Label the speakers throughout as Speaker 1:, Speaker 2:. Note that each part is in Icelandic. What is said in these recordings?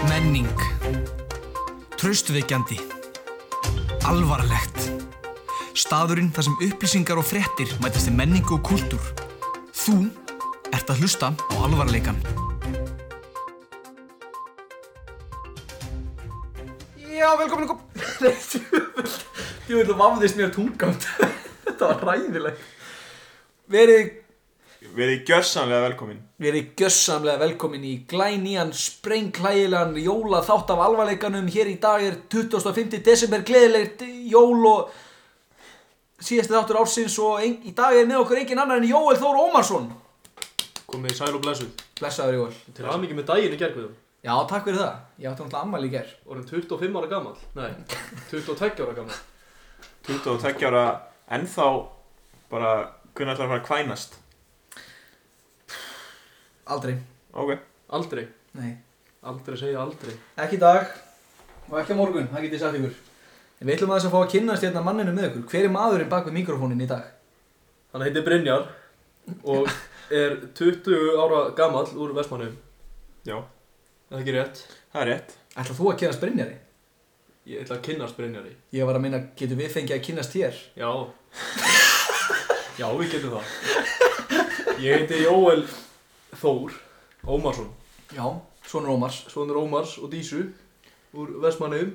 Speaker 1: Spenning Traustvekjandi Alvarlegt Staðurinn þar sem upplýsingar og fréttir mætast í menningu og kúltúr Þú ert að hlusta á alvarleikan
Speaker 2: Já, velkomin kom... Ég vil að vafðist mjög tungamt Þetta var ræðileg Verið,
Speaker 3: Verið gjörsamlega velkomin
Speaker 2: verið gjössamlega velkomin í glænýjan, sprengklægilegan jóla þátt af alvarleikanum Hér í dag er 25. desember, gleðilegt jól og síðasti þáttur ársins og ein, í dag er með okkur engin annar en Jóel Þór Ómarsson
Speaker 4: Komið í sæl og blessuð
Speaker 2: Blessaður Jóel
Speaker 4: Til aðmikið með daginn í gerkviðum
Speaker 2: Já, takk fyrir það, ég átti náttúrulega ammæli í ger
Speaker 4: Orðin 25 ára gammal Nei, 22 ára gammal
Speaker 3: 22 ára ennþá bara hvernig ætlar að fara að kvænast
Speaker 2: Aldrei,
Speaker 3: Ok
Speaker 4: Aldrei,
Speaker 2: nei
Speaker 4: aldrei segja aldrei
Speaker 2: Ekki í dag og ekki á morgun, það get ég sagt ykkur. En við ætlum að þess að fá að kynnast hérna manninu með ykkur. Hver er maðurinn bak við mikrofónin í dag?
Speaker 4: Hann heitir Brynjar og er 20 ára gammal úr Vestmannum
Speaker 3: Já
Speaker 4: Það er ekki rétt
Speaker 3: Það er rétt
Speaker 2: Ætlar þú að kynnast Brynjari?
Speaker 4: Ég ætla að kynnast Brynjari
Speaker 2: Ég var að meina, getur við fengið að kynnast hér?
Speaker 4: Já Já, við getum það Ég heiti Jóel Þór Ómarsson
Speaker 2: Já, svonur Ómars.
Speaker 4: Svonur Ómars og Dísu úr Vestmannum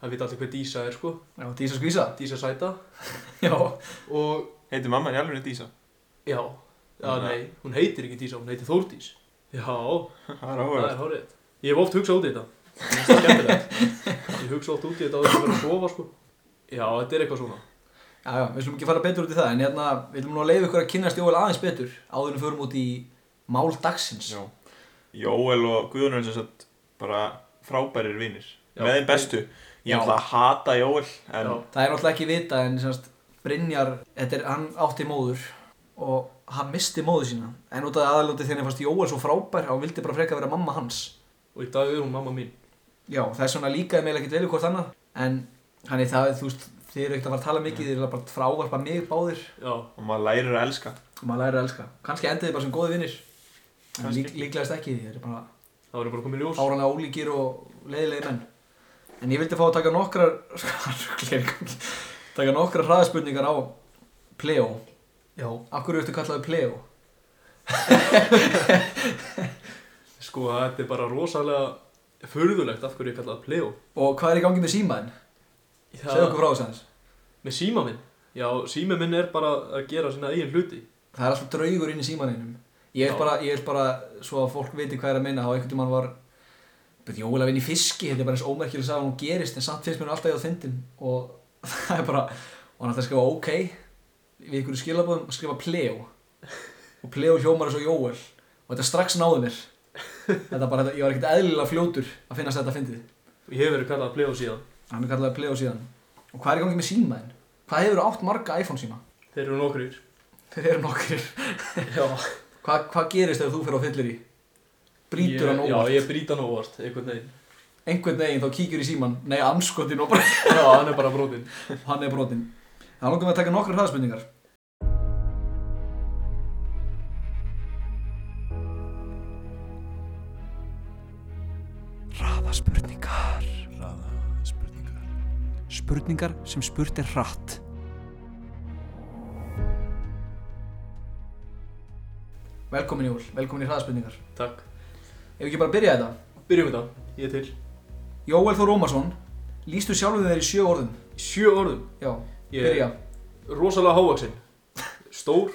Speaker 4: Það vita allir hver Dísa er sko
Speaker 2: Já, Dísa Skvísa.
Speaker 4: Dísa Sæta
Speaker 2: Já.
Speaker 4: og
Speaker 3: Heitir mamma í alveg Dísa
Speaker 4: Já, já,
Speaker 3: Nei.
Speaker 4: nei, hún heitir ekki Dísa, hún heitir Þórdís Já,
Speaker 3: Það er
Speaker 4: það
Speaker 3: áhugað
Speaker 4: er hárið Ég hef oft hugsað út í þetta Mér finnst það skemmtilegt. Ég hugsa oft út í þetta á þess að vera að sofa sko Já, þetta er eitthvað svona
Speaker 2: Já, já, við slum ekki fara betur út í það, en hérna, við ætlum nú að leiða ykkur að kynnast Jóel aðeins betur áður en við förum út í mál dagsins.
Speaker 3: Já Jóel og Guðun er sem sagt bara frábærir vinnir
Speaker 4: Já.
Speaker 3: Með þeim bestu Ég
Speaker 2: Já.
Speaker 3: ætla að hata Jóel en
Speaker 4: Já,
Speaker 2: Það er náttúrulega ekki vita, en semst, Brynjar, þetta er, hann átti móður og hann misti móður sína. En út af aðalóti þegar hann fannst Jóel svo frábær, hann vildi bara freka vera mamma hans.
Speaker 4: og í dag er hún mamma mín
Speaker 2: Já, það er svona líkaði meðlega ekkert velju hvort annað En þannig það, þú veist, þið eru ekkert að fara að tala mikið Þið eru bara að frávarpa mig báðir
Speaker 4: Já,
Speaker 3: Og maður lærir að elska
Speaker 2: Og maður lærir að elska Kannski endið þið bara sem góði vinnir En
Speaker 3: Kannski.
Speaker 2: lík, líklegast ekki, þið eru bara
Speaker 4: það verður bara komið í ljós
Speaker 2: fáranlega ólíkir og leiðilegi menn En ég vildi fá að taka nokkrar rugl er í gangi. Taka nokkrar hraðaspurningar á Pleo
Speaker 4: Já,
Speaker 2: Af hverju ertu kallaði Pleo?
Speaker 4: sko, þetta er bara rosalega furðulegt af hverju ég kalla það Pleo
Speaker 2: Og hvað er í gangi með símaðinn?
Speaker 4: Já,
Speaker 2: Segðu okkur frá þess aðeins
Speaker 4: Með síma minn Já, síma minn er bara að gera sína eigin hluti
Speaker 2: Það er alltaf draugur inn í símaninum Ég vil
Speaker 4: Já.
Speaker 2: bara, ég vil bara, svo að fólk viti hvað er að minna þá einhvern tímann var Byrði Jóel að vinna í fiski, þetta er bara eins ómerkileg að hún gerist en samt finnst mér hún alltaf í á þindin og það er bara, og hann alltaf að skrifa ok við einhverju skilabóðum og skrifa pleo og pleo hljómar eins og Jóel og þetta strax náði mér þetta bara, ég var ekkert eðlilega fljótur að finnast þetta að fyndið
Speaker 4: og ég hef verið kallað Pleo síðan
Speaker 2: hann er kallaði pleo síðan og hvað er í gangi með símaðin? Hvað hefur átt marga iPhone síma?
Speaker 4: Þeir eru nokkrir
Speaker 2: Þeir eru nokkrir
Speaker 4: Já
Speaker 2: Hva, hvað gerist ef þú fyrir á fyllir í? Brítur hann
Speaker 4: Ég-
Speaker 2: óvart?
Speaker 4: Já, ég brýt hann óvart, einhvern veginn
Speaker 2: Einhvern veginn þá kíkir í síman Nei, anskotin og bara
Speaker 4: Já, hann er bara brotinn
Speaker 2: Hann er brotinn Það langar mig að taka nokkra hraðspurningar
Speaker 1: Hraðaspurningar Spurningar sem spurt er hratt
Speaker 2: Velkomin Jól, velkomin í hraðspurningar
Speaker 4: Takk
Speaker 2: Ef ekki bara að byrja þetta
Speaker 4: Byrjum við það, ég er til
Speaker 2: Jóel Þór Ómarsson Lýstu sjálfum þér í sjö orðum
Speaker 4: Í Sjö orðum
Speaker 2: Já,
Speaker 4: Ég
Speaker 2: byrja
Speaker 4: er rosalega hávaksinn Stór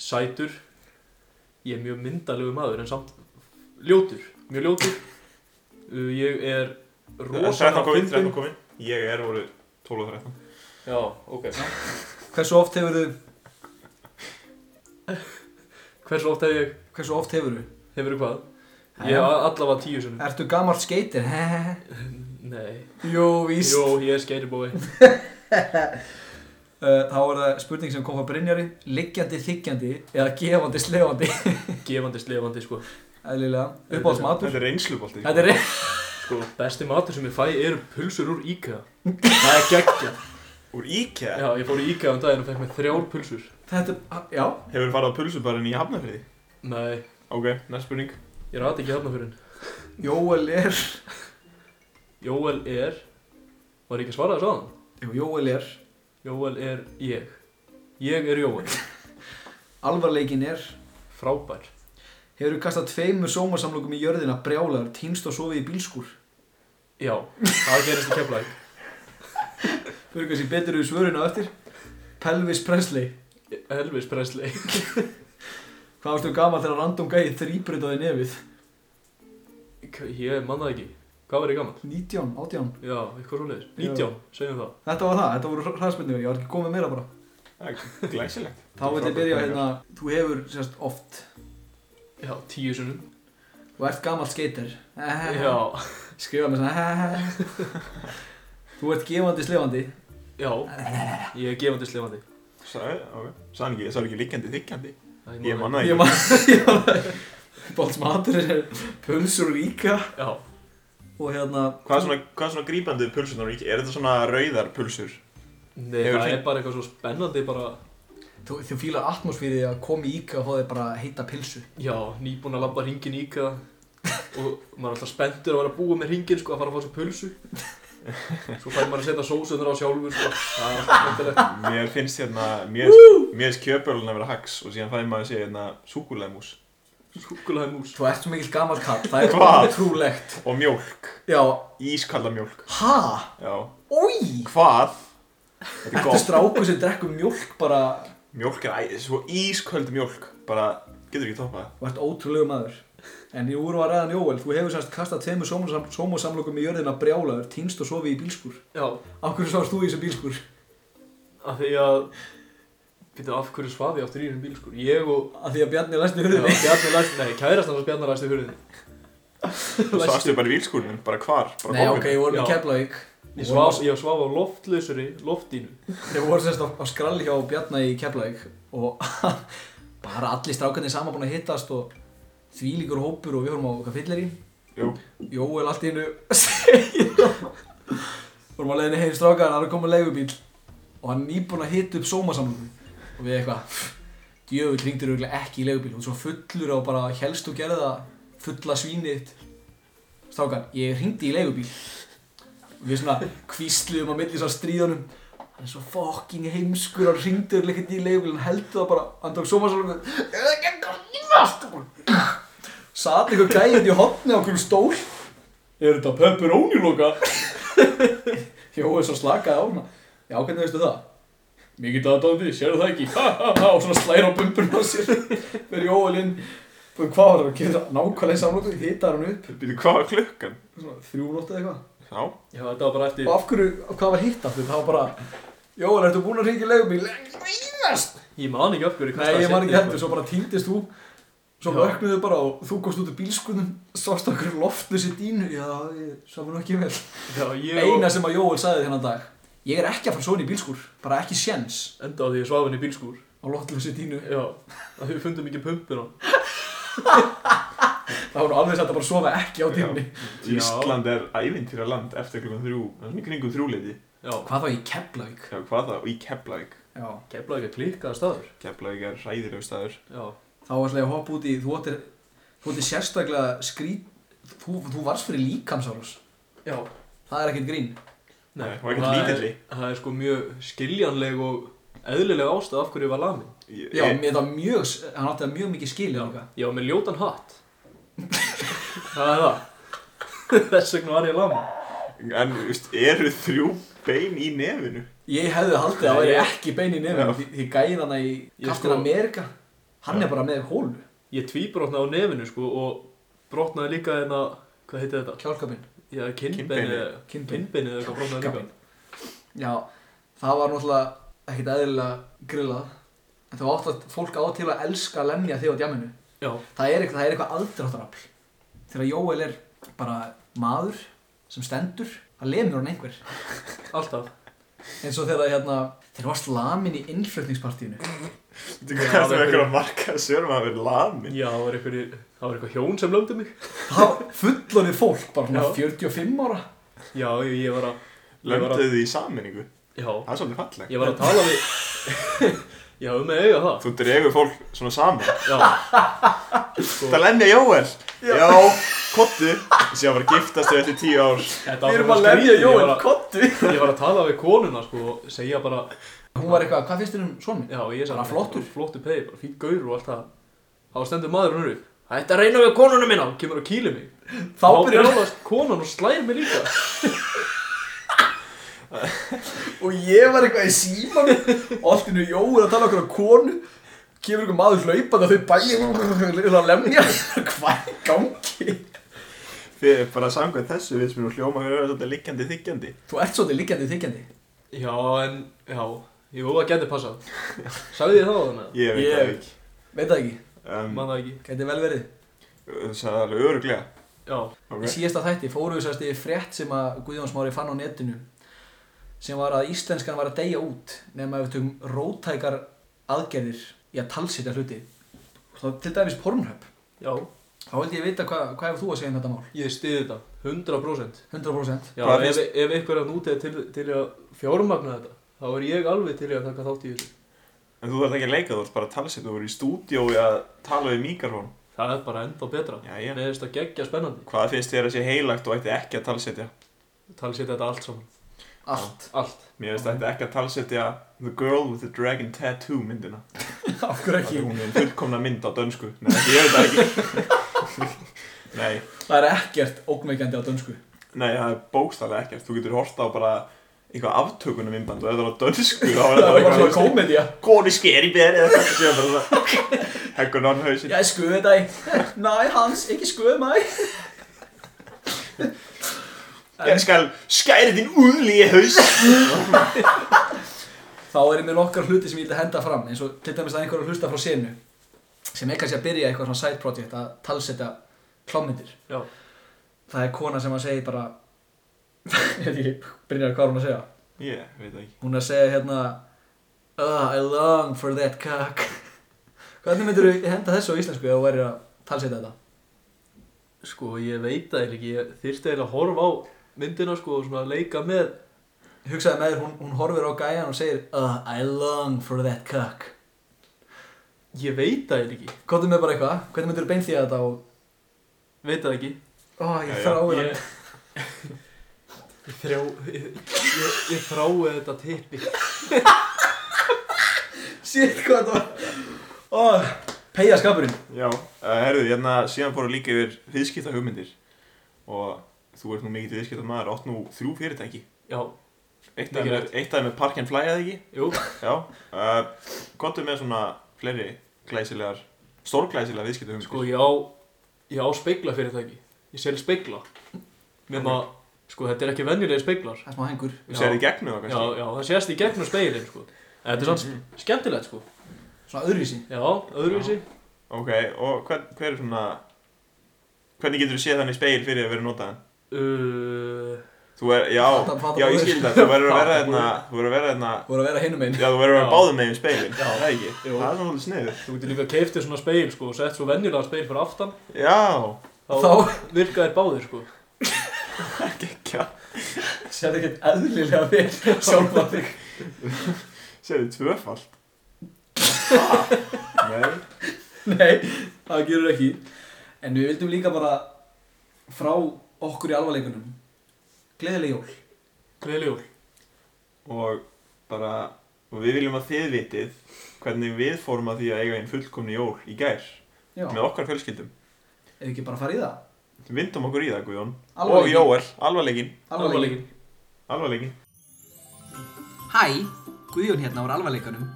Speaker 4: Sætur Ég er mjög myndalegu maður en samt Ljótur, mjög ljótur Uh, Ég er rosalega
Speaker 3: 13 komin, 13
Speaker 4: fyndinn.
Speaker 3: komin Ég er voru 12 og 13
Speaker 4: Já, ok
Speaker 2: Hversu oft hefur þú
Speaker 4: Hversu oft hef ég,
Speaker 2: Hversu oft hefur þú
Speaker 4: hefur hvað? Ég hef allavega tíu sinni
Speaker 2: Ertu gamalt skeitir?
Speaker 4: Nei
Speaker 2: Jú, víst
Speaker 4: Jó, ég er skeiribói
Speaker 2: Uh, Þá er það spurning sem kom frá Brynjari Liggjandi, þiggjandi eða gefandi, slefandi
Speaker 4: Gefandi, slefandi, sko
Speaker 2: Æðlilega, uppáðs matur
Speaker 3: Þetta er reynslubolti
Speaker 2: Þetta er
Speaker 4: Sko, besti matur sem ég fæ eru pulsur úr IKEA Það er geggja
Speaker 3: Úr IKEA
Speaker 4: Já, ég fór í IKEA um daginn og fekk mér þrjár pulsur
Speaker 2: Þetta, já,
Speaker 3: Hefur farið á pulsubarinn í Hafnarfriði
Speaker 4: Nei,
Speaker 3: Ok, næst spurning
Speaker 4: ég rati ekki þarna fyrir
Speaker 2: Jóel er
Speaker 4: Jóel er Var ég ekki að svara þess aðan?
Speaker 2: Jú, Jóel er
Speaker 4: Jóel er ég Ég er Jóel
Speaker 2: Alvarleikin er
Speaker 4: Frábær
Speaker 2: Hefur kastað tveimur sómasamlokum í jörðina brjálaður, týnst og sofið í bílskur
Speaker 4: Já, það gerist í keflæk
Speaker 2: Fyrir kannski betur við svöruna á eftir Pelvis Presley
Speaker 4: Elvis Presley
Speaker 2: Hvað varstu gaman þegar random gæði þrýbritaði nefið?
Speaker 4: K- Ég man það ekki Hvað var ég gaman?
Speaker 2: 19, 18
Speaker 4: Já, eitthvað svo leiðis
Speaker 2: Já.
Speaker 4: 19, segjum það
Speaker 2: Þetta var það, þetta voru hraðspilningar, ég var ekki komið meira bara
Speaker 3: Það er glæsilegt.
Speaker 2: Þá vil ég byrja hérna, þú hefur sérst oft
Speaker 4: Já, tíu sunnum
Speaker 2: Þú ert gamall skeitir Eh.
Speaker 4: Já,
Speaker 2: Skrifa mér svona Þú ert gefandi slefandi
Speaker 4: já Ég er gefandi slefandi
Speaker 3: Sæði, ok. Sæði ekki, það er ekki líkjandi þykjandi.
Speaker 4: Það
Speaker 3: Ég manna
Speaker 2: Ég
Speaker 3: ekki.
Speaker 2: man ég man- Báls matur er pulsur líka
Speaker 4: Já,
Speaker 2: Og hérna
Speaker 3: Hvað er svona, hvað er svona grípandi við pulsunar ekki? Er þetta svona rauðar pulsur?
Speaker 4: Nei,
Speaker 3: Hefur
Speaker 4: það
Speaker 3: hringt-
Speaker 4: er bara eitthvað svo spennandi bara
Speaker 2: Þú, þú fílar atmosfýrið að koma í íka og fá þér bara heita pilsu
Speaker 4: Já, nýbúin að labba hringin í IKEA og maður er alltaf spenntur að vera að búa með hringin sko að fara að fá sér pulsu svo fær maður að setja sósunar á sjálfur sko það er alltaf skemmtilegt
Speaker 3: Mér finnst hérna, mér mér finnst kjöpörlun að vera hax og síðan fæði maður að segja hérna súkulæmús
Speaker 4: súkulæði mús
Speaker 2: Þú ert svo mikill gamall kall, það er
Speaker 3: Hvað?
Speaker 2: ótrúlegt
Speaker 3: og mjólk,
Speaker 2: Já,
Speaker 3: ískalda mjólk.
Speaker 2: ha?
Speaker 3: Já.
Speaker 2: Ói!
Speaker 3: Hvað? Þetta er
Speaker 2: Ertu
Speaker 3: gott.
Speaker 2: stráku sem drekkum mjólk bara
Speaker 3: Mjólk er æ, svo ísköld mjólk, bara getur ekki toppað.
Speaker 2: Þú ert ótrúlegu maður En ég voru að ræðan Jóel, þú hefur sérst kastað tveimur sómasam- sómasamlokum í jörðina brjálaður, týnst og sofið í bílskur
Speaker 4: Já,
Speaker 2: Af hverju svarst þú í þessu bílskur?
Speaker 4: af því að Býta, af hverju svaf ég aftur í þessum bíl sko Ég og
Speaker 2: Af því að Bjarni læst í
Speaker 4: Já,
Speaker 2: hurðinni
Speaker 4: Bjarni læst, nei, kærast hans Bjarni læst í hurðinni
Speaker 3: Þú svafstu bara í vílskúrunum, bara hvar, bara
Speaker 2: Nei,
Speaker 3: gólfinu.
Speaker 2: ok, ég voru
Speaker 4: Já.
Speaker 2: með Keflavík
Speaker 4: Ég svaf, ég svaf á loftlausuri, loftínu
Speaker 2: Þeir voru sérst á, á skralli hjá Bjarna í Keflavík og bara allir strákarnir saman búin að hittast og þvílíkur hópur og við vorum á hvað fyllir í
Speaker 3: Jú,
Speaker 2: Jóel allt í innu segir það. vorum á leiðinni heim strákar hann er komið leigubíl og hann er nýbúin að hitta upp sómasamlunum og við eitthvað djöfull ringdur auðvitað ekki í leigubíl og svo fullur á bara helst og gerða fulla svínið strákar, ég ringdi í leigubíl við svona kvísluðum á millis á stríðunum hann er svo fokking heimskur hann ringdi auðvitað ekkert í leigubíl hann heldur það bara, hann tók sómasamlunum eða ekki að grínast sat einhver gæðin í hotni á einhverjum stól er þetta pepperoni loka? Jó, þess að slakaði á hana Já, hvernig veistu það? Mikið aðdáðandi, sérðu það ekki? Ha, ha, ha, og svona slæra á bumbunum á sér fyrir Jóelinn Búin hvað var það, getur nákvæmlega samlokum, hittar hann upp
Speaker 3: byrju, hvað var klukkan?
Speaker 2: svona þrjúnótt eða eitthvað
Speaker 3: Já,
Speaker 4: Já, þetta var bara eftir
Speaker 2: Og af hverju, hvað var hitt aftur? Það var bara Jóel, ertu búin að ringja í leigubíl? Grínast!
Speaker 4: Ég man ekki af hverju ég
Speaker 2: Nei,
Speaker 4: kastaði
Speaker 2: ég man ekki
Speaker 4: seinni,
Speaker 2: heldur,
Speaker 4: sko.
Speaker 2: svo bara týndist þú Svo
Speaker 4: Já.
Speaker 2: vöknuðu bara og þú komst út úr bílskunum Sást okkur loftlu sér dínu Já, ég sá nú ekki vel
Speaker 4: Já, ég og
Speaker 2: sko. eina sem að Jóel sagði þennan dag ég er ekki að fara svona í bílskur, bara ekki sjens
Speaker 4: Enda á því ég svaf henni í bílskúr
Speaker 2: á lottlösi tínu,
Speaker 4: Já, að við fundum ekki pumpuna
Speaker 2: þá er nú alveg sætt að bara sofa ekki á tímunni
Speaker 4: Já.
Speaker 3: Ísland er ævintýra land eftir klukkan þrjú, það er svona í kringum þrjúleiti.
Speaker 4: Já,
Speaker 2: hvað þá í Keflavík
Speaker 3: Já, hvað það? Og í Keflavík.
Speaker 2: Já.
Speaker 4: keflaði ekki að klikkaða staður
Speaker 3: Keflavík er ræðileg staður.
Speaker 4: Já,
Speaker 2: þá ætla ég að hoppa út í þú ættir, þú ættir sérstaklega skrít þú, þú varst fyrir líkamsárás
Speaker 4: já
Speaker 2: það er ekkert grín
Speaker 4: Nei,
Speaker 3: og ekkert
Speaker 4: það er-
Speaker 3: lítilli.
Speaker 4: Það er sko mjög skiljanleg og eðlileg ástæð af hverju ég var lamin
Speaker 3: Ég-
Speaker 2: Já,
Speaker 3: ég-
Speaker 2: mér það mjög, hann átti það mjög mikið skilja já.
Speaker 4: Ég var með ljótan hatt Það er það Þess vegna var ég lamin
Speaker 3: En, þú veist, eru þrjú bein í nefinu?
Speaker 2: Ég hefði haldið að það
Speaker 4: Nei,
Speaker 2: væri
Speaker 4: ég-
Speaker 2: ekki bein í nefnum
Speaker 3: Já.
Speaker 2: því, því gæðana í
Speaker 4: Ég
Speaker 2: Captain
Speaker 4: sko-
Speaker 2: America hann
Speaker 3: Já.
Speaker 2: er bara með hólu,
Speaker 4: Ég tvíbrotnaði á nefinu sko og brotnaði líka hérna Hvað heiti þetta?
Speaker 2: kjálkabinn,
Speaker 4: Já,
Speaker 3: Kinnbeini.
Speaker 4: kinnbeini
Speaker 2: kindbinn
Speaker 4: Kinnbeini eða eitthvað brotnaði líka
Speaker 2: Já, það var náttúrulega ekkert eðlilega grillað En þú átt að fólk á til að elska að lemja þig á djaminu
Speaker 4: Já,
Speaker 2: Það er eitthvað, það er eitthvað aðdráttarafl Þegar Jóel er bara maður sem stendur Það lemur hann einhver
Speaker 4: alltaf
Speaker 2: eins og þegar hérna, þegar þú varst lamin í innflutningspartíinu
Speaker 3: Þú veist,
Speaker 4: Já,
Speaker 3: það
Speaker 4: það
Speaker 3: er
Speaker 4: er-
Speaker 3: eitthvað að marka sörum að vera lamin.
Speaker 4: Já, það var einhverjir Það var eitthvað hjón sem lögdu mig
Speaker 2: Það fullonið fólk, bara svona
Speaker 4: Já.
Speaker 2: 45 ára
Speaker 4: Já, ég ég var að ég var að-
Speaker 3: Lönduðu því í saminningu.
Speaker 4: Já,
Speaker 3: Það er svolítið fallegt.
Speaker 4: Ég var að tala við Já, um að eiga það
Speaker 3: Þú dregur fólk svona saman
Speaker 4: Já,
Speaker 3: Það lemja Jóel Já, kottu Sér að fara að giftast þau eftir tíu ár
Speaker 4: þetta
Speaker 2: Við
Speaker 4: var
Speaker 2: erum að
Speaker 4: bara
Speaker 2: lemja
Speaker 4: skrítið. Ég var
Speaker 2: Jóel
Speaker 4: að-
Speaker 2: Kottu
Speaker 4: Ég var að tala við konuna sko og segja bara
Speaker 2: Hún var eitthvað, hvað finnst þér um svona minn?
Speaker 4: Já, ég sagði
Speaker 2: Bara flottur.
Speaker 4: Flottur pegi, bara fýtt gaur og allt það Þá stendur maður hún upp Þetta er að reyna við konuna minna Hún kemur og kýlir mig
Speaker 2: Þá byrjar hún
Speaker 4: brjálast konan og slæðir mig líka
Speaker 2: Og ég var eitthvað í símanum Og allt innu Jóel að tala okkur á konu Kemur einhver maður hlaupað og þau bæði Það lemja Hvað er í gangi?
Speaker 3: Þið er bara samkvæmt þessu við sem erum hljóma að vera þetta liggjandi þiggjandi
Speaker 2: Þú ert svolítið liggjandi þykjandi
Speaker 4: Já, en, já Jú, það getur passað Sagði ég það á þannig?
Speaker 3: Ég veit það
Speaker 2: Ég-
Speaker 3: ekki
Speaker 2: Veit það ekki,
Speaker 3: um,
Speaker 4: Man það ekki
Speaker 2: gæti vel verið
Speaker 3: Þú sagði það alveg öruglega
Speaker 4: Já,
Speaker 2: Í
Speaker 3: okay.
Speaker 2: síðasta þætti fóru við sérst í frétt sem að Guðjón Smári fann á netinu sem var að íslenskan var að deyja út nema ef við tökum rótækar aðgerðir í að talsýta hluti þá til dæmis Pornhub
Speaker 4: já
Speaker 2: þá vildi ég vita hva, hvað hefur þú að segja um þetta mál
Speaker 4: Ég stiði þetta 100%
Speaker 2: 100%
Speaker 4: Já,
Speaker 3: Hvað
Speaker 4: ef,
Speaker 3: finnst-
Speaker 4: ef einhver að nútið til, til að fjármagna þetta Þá er ég alveg til í að taka þátt í þessu
Speaker 3: En þú þarf ekki að leika, þú ert bara að tala sér Þú voru í stúdíói að tala við mikrofón
Speaker 4: Það er bara enda betra
Speaker 3: Jæja.
Speaker 4: Mér finnst það geggja spennandi
Speaker 3: Hvað finnst þér að sé heilagt og ætti ekki að talsetja?
Speaker 4: Talsið þetta allt saman
Speaker 2: allt
Speaker 4: Allt
Speaker 3: Mér finnst ætti ekki að talsetja The Girl with the Dragon Tattoo myndina
Speaker 2: af hverju
Speaker 3: Það
Speaker 2: ekki
Speaker 3: er hún er fullkomna mynd á dönsku Nei, ég veit það ekki Nei,
Speaker 2: það er ekkert ógnveikjandi á dönsku
Speaker 3: nei, það er bókstæðlega ekkert Þú getur horta á bara einhvað aftökunum myndband og ef það er á dönsku þá er
Speaker 2: það
Speaker 3: það
Speaker 2: var bara
Speaker 3: eitthvað
Speaker 2: svona komedja
Speaker 3: Góni skeri beri eða eitthvað sem bara svona Hekkur nonn hausinn
Speaker 2: ég skuði þig næ Hans, ekki skuði mig
Speaker 3: Ég skal skæri þín úðlíi haus
Speaker 2: þá erum við nokkar hluti sem ég vil henda fram eins og til dæmis að einhverju hlusta frá senu sem er kannski að byrja eitthvað svona side project að talsetja klámyndir
Speaker 4: Já,
Speaker 2: það er kona sem að segja bara ég byrjar hvað er hún að segja
Speaker 3: Ég veit það ekki
Speaker 2: hún er að segja hérna oh, I long for that cock hvernig myndir þú henda þessu á íslensku ef þú væri að talsetja þetta
Speaker 4: sko, ég veit það eiginlega ekki Ég þyrfti eiginlega að horfa á myndina sko og svona leika með
Speaker 2: hugsaði með þér, hún, hún horfir á gæjan og segir oh, I long for that cock
Speaker 4: Ég veit það eiginlega ekki
Speaker 2: komdu með bara eitthvað, hvernig myndir þú beinþýja þetta og
Speaker 4: Veit það ekki
Speaker 2: ó, ég
Speaker 3: Já, já,
Speaker 2: þrái
Speaker 4: Ég
Speaker 2: það
Speaker 4: Ég þrá Ég, ég, ég þrái þetta tippi
Speaker 2: shit hvað það var oh, peyja skapurinn
Speaker 3: Já, uh, herðu, hérna síðan fóru líka yfir viðskipta hugmyndir og þú ert nú mikið viðskipta maður átt nú þrjú fyrirtæki
Speaker 4: Já,
Speaker 3: Eitt
Speaker 4: Mikið
Speaker 3: aðeins
Speaker 4: rétt.
Speaker 3: eitt að með Park and Fly eða ekki
Speaker 4: jú
Speaker 3: Já, uh, kontu með svona fleiri glæsilegar, stórglæsilegar viðskipta hugmyndir
Speaker 4: Sko, ég á Ég á speigla fyrirtæki Ég sel speigla Nefna Sko, þetta er ekki venjulegir speiglar
Speaker 2: það er smá hengur
Speaker 3: Þú sér þið gegnum það
Speaker 4: Já,
Speaker 3: kannski
Speaker 4: já, það sést í gegnum speigilin sko En þetta er svona skemmtilegt sko
Speaker 2: svona öðruvísi
Speaker 4: Já, öðruvísi
Speaker 3: Ok, og hver, hver er svona, hvernig getur þú séð þannig speil fyrir að vera notaðan?
Speaker 4: uh,
Speaker 3: Þú er, já,
Speaker 2: Fata- fata-
Speaker 3: já, ég skil það, þú verður að vera
Speaker 4: Fata-
Speaker 3: þarna, þú verður að vera þarna
Speaker 2: voru að vera hinum einn
Speaker 3: Já, þú verður að vera
Speaker 4: Já.
Speaker 3: báðum meginn speilin,
Speaker 4: Já.
Speaker 3: það ekki?
Speaker 4: Jú.
Speaker 3: Það er náttúrulega sniður.
Speaker 4: Þú getur líka keiftið svona speil sko Og sett svo venjulega speil fyrir aftan
Speaker 3: Já,
Speaker 4: Þá
Speaker 2: þá
Speaker 4: virka þér báðir sko
Speaker 3: gekkja.
Speaker 2: sér ekkert eðlilega vel sjálfa þig
Speaker 3: Sér þið tvöfald? Nei.
Speaker 2: nei, það gerur ekki en við vildum líka bara frá okkur í alvarleikunum gleðileg jól
Speaker 4: Gleðileg jól
Speaker 3: Og bara, og við viljum að þið vitið hvernig við fórum að því að eiga einn fullkomni jól í gær.
Speaker 2: já,
Speaker 3: Með okkar fjölskyldum.
Speaker 2: ef ekki bara farið í það
Speaker 3: Við vindum okkur í það, Guðjón. Og
Speaker 2: Alvarleikinn.
Speaker 3: Jóel, alvarleikin,
Speaker 2: alvarleikin
Speaker 4: Alvarleikinn.
Speaker 3: alvarleikin.
Speaker 2: hæ, Guðjón hérna úr alvarleikunum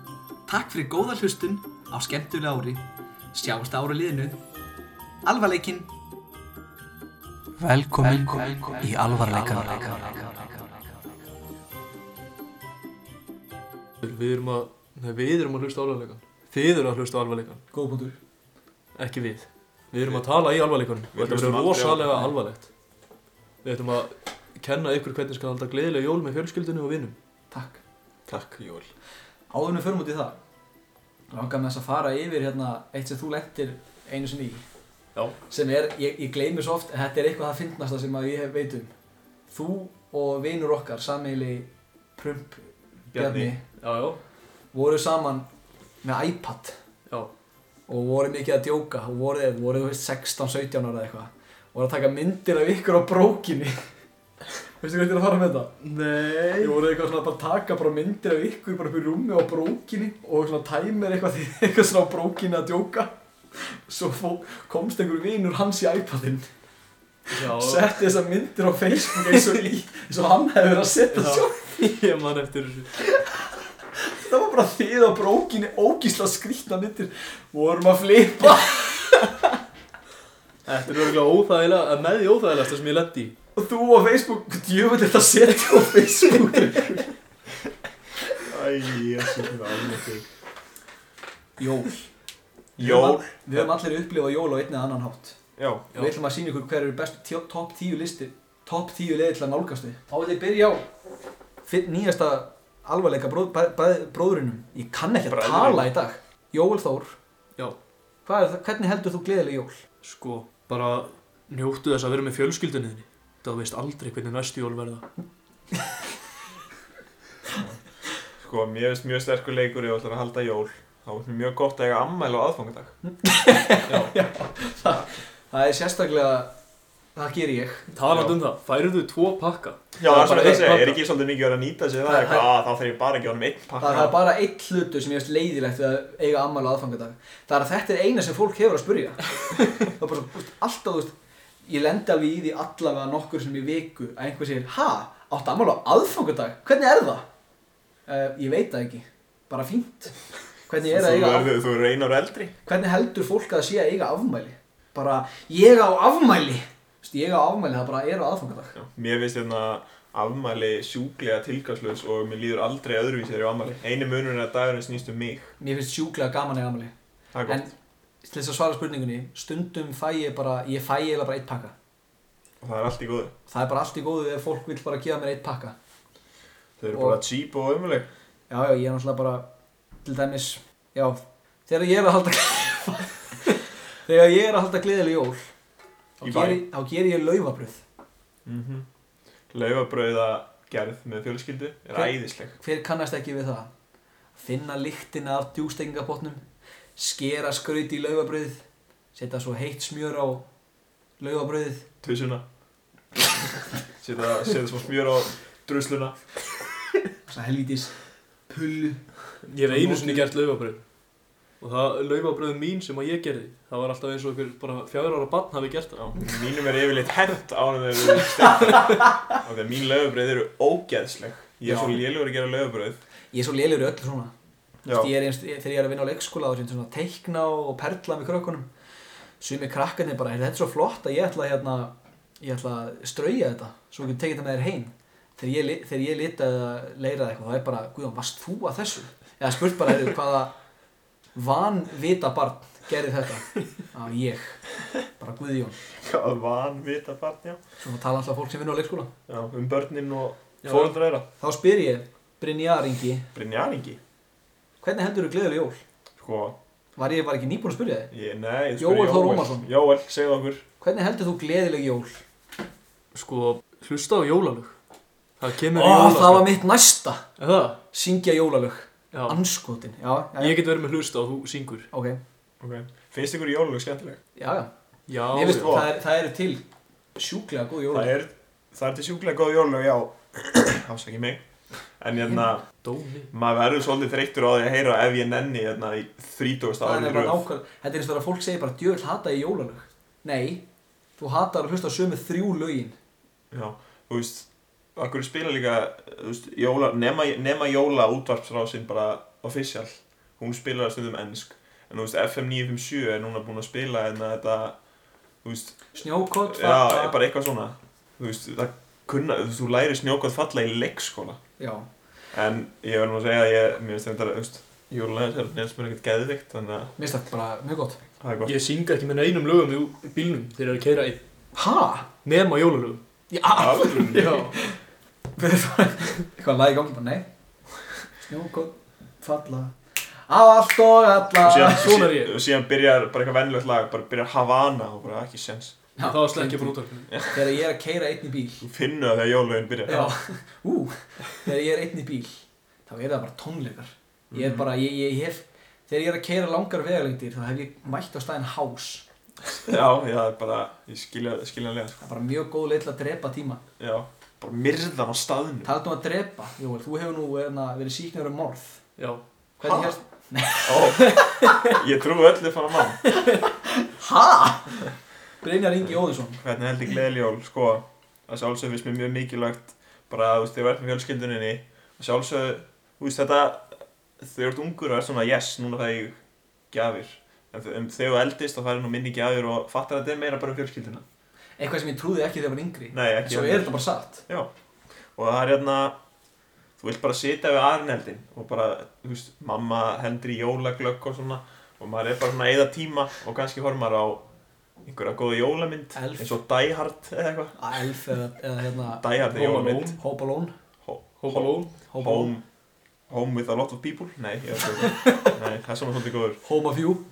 Speaker 2: takk fyrir góða hlustun á skemmtulega ári sjáumst ára liðinu alvarleikin velkomin, í alvarleikan
Speaker 4: Við erum að Nei, við erum að hlusta á alvarleikan Þið eru að hlusta á alvarleikan
Speaker 2: góð punktur
Speaker 4: Ekki við Við erum að tala í alvarleikunum Og
Speaker 3: Við
Speaker 4: þetta
Speaker 3: hlustum
Speaker 4: verður
Speaker 3: aldrei á-
Speaker 4: rosalega alvarlegt Við ætlum að kenna ykkur hvernig skal halda gleðileg jól með fjölskyldinu og vinnum
Speaker 2: takk
Speaker 3: Takk, Jóel.
Speaker 2: áður en við förum út í það langar með þess að fara yfir hérna eitt sem þú lentir einu sinni í
Speaker 4: Já
Speaker 2: sem er, ég, ég gleymi svo oft en þetta er eitthvað það fyndnasta sem að ég hef- veit um þú og vinur okkar sammeili Prump Bjarni
Speaker 3: Bjarni.
Speaker 4: Já, já
Speaker 2: voru saman með iPad
Speaker 4: Já.
Speaker 2: og voru mikið að djóka og voru, voru þú veist 16-17 ára eða eitthvað og voru að taka myndir af ykkur á brókinni veistu hvað þetta er að fara með þetta?
Speaker 4: Nei
Speaker 2: Ég voru eitthvað svona að bara taka bara myndir af ykkur bara upp í rúmi á brókinni og svona tæmir eitthvað því eitthvað svona á brókinni að djóka svo fó, komst einhver vinur hans í iPadinn
Speaker 4: Já,
Speaker 2: setti þessar myndir á Facebook eins og, í, eins og hann hefði verið að setja
Speaker 4: Já.
Speaker 2: sjálf
Speaker 4: ég man eftir þessu
Speaker 2: það var bara þið á brókinni ógísla skrýtna myndir vorum að flipa
Speaker 4: Þetta er örgulega óþægilega, að með því óþægilegasta sem ég lendi í
Speaker 2: og þú á Facebook djöfull þetta setja á Facebook
Speaker 3: Æ, jésu, það er alveg til.
Speaker 2: Jól
Speaker 3: Jól.
Speaker 2: Við höfum allir upplifað jól á einn eða annan hátt
Speaker 3: Já.
Speaker 2: Við ætlum að sína ykkur hver eru bestu tí- topp 10 listi topp 10 leiði til að nálgast við Þá vil ég byrja á fyr- nýjasta alvarleika bróð, bæ, bæ, bróðurinnum Ég kann ekki að
Speaker 3: Bræðrinum.
Speaker 2: tala í dag Jóel Þór
Speaker 4: Já,
Speaker 2: hvað er það, Hvernig heldur þú gleðileg jól?
Speaker 4: sko, bara njóttu þess að vera með fjölskyldunni þinni Það veist aldrei hvernig næstu jól verða
Speaker 3: Sko, mér finnst mjög sterkur leikur ef þú ætlar að halda jól. Þá finnst mér mjög gott að eiga ammæli á aðfangadag.
Speaker 2: Það er sérstaklega það ger ég
Speaker 4: Talandi um það, færðu tvo pakka
Speaker 3: Já, það er svona
Speaker 4: bara
Speaker 3: þess
Speaker 4: einn
Speaker 3: að er
Speaker 4: pakka.
Speaker 3: ekki svolítið mikið verið að nýta sér það
Speaker 2: Það-
Speaker 3: eitthvað að þá þarf ég bara að gefa honum einn
Speaker 2: Það, það
Speaker 3: pakka.
Speaker 2: er bara eitt hlutu sem ég veist leiðilegt við að eiga ammæli á aðfangadag Það er að þetta er eina sem fólk hefur að spurja Það er bara svo, úst, alltaf, þú veist Ég lendi alveg í því allavega nokkur sem ég viku að einhver segir, ha, áttu ammæli á aðfangadag? Hvernig er það? Uh, ég veit það ekki, bara fínt Hvernig er að
Speaker 3: Þú
Speaker 2: eiga af...
Speaker 3: verður- Þú eru einn ára eldri.
Speaker 2: Hvernig heldur fólk að það sé að eiga afmæli? Bara, ég á afmæli Þú veist, Ég á afmæli, það bara er á aðfangadag
Speaker 3: Já. Mér finnst hérna afmæli sjúklega tilgangslaus og mér líður aldrei öðruvísi þegar ég á afmæli. Einu munur er að dagurinn snýst um mig.
Speaker 2: Mér finnst sjúklega gaman að eiga afmæli
Speaker 3: Það er
Speaker 2: En
Speaker 3: gott.
Speaker 2: til þess að svara spurningunni, stundum fæ ég bara, ég fæ eiginlega bara eitt pakka.
Speaker 3: Og það er allt í góðu.
Speaker 2: Það er bara allt í góðu ef fólk vil bara gefa mér eitt pakka.
Speaker 3: Þau eru
Speaker 2: Og-
Speaker 3: bara cheap og ömuleg.
Speaker 2: Já, já, ég er náttúrulega bara, til dæmis, já, þegar ég er að halda, þegar ég er að halda gleðileg jól, þá
Speaker 3: Í bæ.
Speaker 2: geri, þá geri ég laufabröð.
Speaker 3: Mm -hmm. Laufabrauðagerð með fjölskyldu er
Speaker 2: Hver-
Speaker 3: æðisleg.
Speaker 2: Hver kannast ekki við það? Finna lyktina af djústengingabotnum, skera skraut í laufabröðið, setja svo heitt smjör á laufabröðið.
Speaker 3: Tussuna. Seta, seta smá smjör á drusluna.
Speaker 2: Svona helvítis pullu.
Speaker 4: Ég hef einu sinni gert laufabröð Og það laufabröð mín sem að ég gerði Það var alltaf eins og einhver bara fjár ára barn hafi gert
Speaker 3: Já,
Speaker 4: það
Speaker 3: mínum er yfirleitt hent ánum þegar við erum stefnir. Og þegar mín laufabrauð eru ógeðsleg. Ég er svo
Speaker 2: Já.
Speaker 3: lélugur að gera laufabrauð.
Speaker 2: Ég er svo lélur í öllu svona. Þú veist, ég er einst, ég- þegar ég er að vinna á leikskóla þá er ég svona að teikna og perla með krökkunum sumi krakkarnir bara, "Heyrðu, þetta er svo flott að ég ætla að, hérna, ég ætla að strauja þetta svo ekki tekið þetta með þér heim þegar ég, li- þegar ég litaði að leira eitthvað þá er bara, guðjón, varst þú að þessu? eða spurt bara, heyrðu, hvaða vanvita barn gerði þetta að ég, bara guðjón
Speaker 3: Hvað vanvita barn, já.
Speaker 2: svo tala alltaf fólk sem vinna á leikskóla
Speaker 3: já. Um börnin og
Speaker 4: Já.
Speaker 3: fóröldra þeirra.
Speaker 2: þá spyr ég, Brynjar Ingi
Speaker 3: Brynjaringi.
Speaker 2: hvernig heldur þú gleðileg jól?
Speaker 3: Sko,
Speaker 2: Var ég var ekki nýbúin að spyrja þig?
Speaker 3: ég, nei, ég spyr
Speaker 2: Jóel Þór Ómarsson.
Speaker 3: Jóel, segðu okkur.
Speaker 2: Hvernig heldur þú gleðileg jól?
Speaker 4: Sko, hlusta á jólalög Það kemur
Speaker 2: Ó, það var mitt næsta
Speaker 4: Er Það?
Speaker 2: Syngja jólalög
Speaker 4: Já
Speaker 2: Anskotin Já, já, já
Speaker 4: Ég get verið með hlusta og þú syngur
Speaker 2: Ok
Speaker 3: Okay. Finnst ykkur jólulög skemmtileg?
Speaker 2: Já, já
Speaker 4: Já,
Speaker 2: Mér finnst,
Speaker 3: já.
Speaker 4: já.
Speaker 3: sko.
Speaker 2: það, er, það eru til sjúklega góð
Speaker 3: Það
Speaker 2: jólalög
Speaker 3: er, það er til sjúklega góð jólulög, já. Ásaki mig. En hérna,
Speaker 4: Dóni
Speaker 3: maður verður svolítið þreyttur á því að heyra ef ég nenni hérna í 30.
Speaker 2: Það er
Speaker 3: árið
Speaker 2: nefnilega nákvæm Þetta er eins og þegar fólk segir bara Djöðl hata ég jólalög Nei Þú hatar að hlusta á sömu þrjú lögin
Speaker 3: Já, þú veist, akkur spila líka, þú veist, jóla, nema, nema jóla útvarpsrásin bara official, hún spilar stundum ennsk, en þú veist, FM 957 er núna búin að spila en þetta, þú veist,
Speaker 2: Snjókott
Speaker 3: já, er bara eitthvað svona, þú veist, það kunna, þú, veist, þú læri snjókvæð falla í leikskóla,
Speaker 2: Já
Speaker 3: en ég verður nú að segja að ég, mér finnst þetta, þú veist, jóla, það er nefnst mér ekkert geðvikt, þannig að
Speaker 2: Mér finnst það bara mjög gott
Speaker 3: það er gott.
Speaker 4: Ég syng ekki með einum lögum í bílnum þegar ég er að keira einn
Speaker 2: Ha?
Speaker 4: Nema jólalögum
Speaker 2: Já
Speaker 3: Alveg.
Speaker 2: Já Við erum bara Eitthvað lag í gangi bara Nei Snjókott Falla Á allt og alla
Speaker 3: Og síðan,
Speaker 4: svona er ég.
Speaker 3: og síðan byrjar bara eitthvað venlulegt lag, bara byrjar Havana og bara ekki sens.
Speaker 2: Já,
Speaker 4: Það var slekkja bara útvarpinu
Speaker 2: Þegar ég er að keira einn í bíl
Speaker 3: Þú finnur það þegar jólaugin byrjar.
Speaker 2: Já, Mhm. ú, þegar ég er einn í bíl þá er það bara tónleikar ég er bara, ég, ég, ég hef Þegar ég er að keira langar vegalengdir þá hef ég mætt á staðinn hás.
Speaker 3: Já, já, það er bara, ég skilja, skiljanlega, sko.
Speaker 2: Það er bara mjög góð leið til að drepa tíma.
Speaker 3: Já, bara myrðan á staðinu.
Speaker 2: Talað um að drepa, Jóel, þú hefur nú hérna, verið síknaður um morð.
Speaker 4: Já,
Speaker 2: Hvernig
Speaker 3: Ha?
Speaker 2: hérst?
Speaker 3: Ó, ég trúi öllu fann að mann.
Speaker 2: Brynjar Ingi Óðinsson.
Speaker 3: Hvernig held ég gleðileg jól, sko, að sjálfsögðu finnst mér mjög mikilvægt, bara, þú veist, þegar þú ert með fjölskylduninni, að sjálfsögðu, þú veist, þetta, þegar þú ert ungur og er svona, yes, núna fæði ég gjafir. En þe- um, þegar þú eldist, þá færi nú minni gjafir og fattar að þetta er meira bara um fjölskylduna.
Speaker 2: Eitthvað sem ég trúði ekki þegar ég var yngri.
Speaker 3: Nei,
Speaker 2: En
Speaker 3: ekki.
Speaker 2: svo er þetta bara satt.
Speaker 3: Já, og það er hérna þú vilt bara sitja við aðrineldin og bara, þú veist, mamma hendur í jólaglögg og svona og maður er bara svona að eyða tíma og kannski horf maður á einhverja góða jólamynd
Speaker 2: Elf.
Speaker 3: eins og Die Hard eða eitthvað
Speaker 2: Elf eða, eða hérna...
Speaker 3: Die Hard er
Speaker 4: Home Alone.
Speaker 3: jólamynd
Speaker 2: Hope Alone.
Speaker 3: Ho-
Speaker 4: Home Alone,
Speaker 3: Home,
Speaker 2: Alone.
Speaker 3: home, home with a lot of people Nei, ég er svo Nei, það er svona svolítið góður
Speaker 2: Home of You.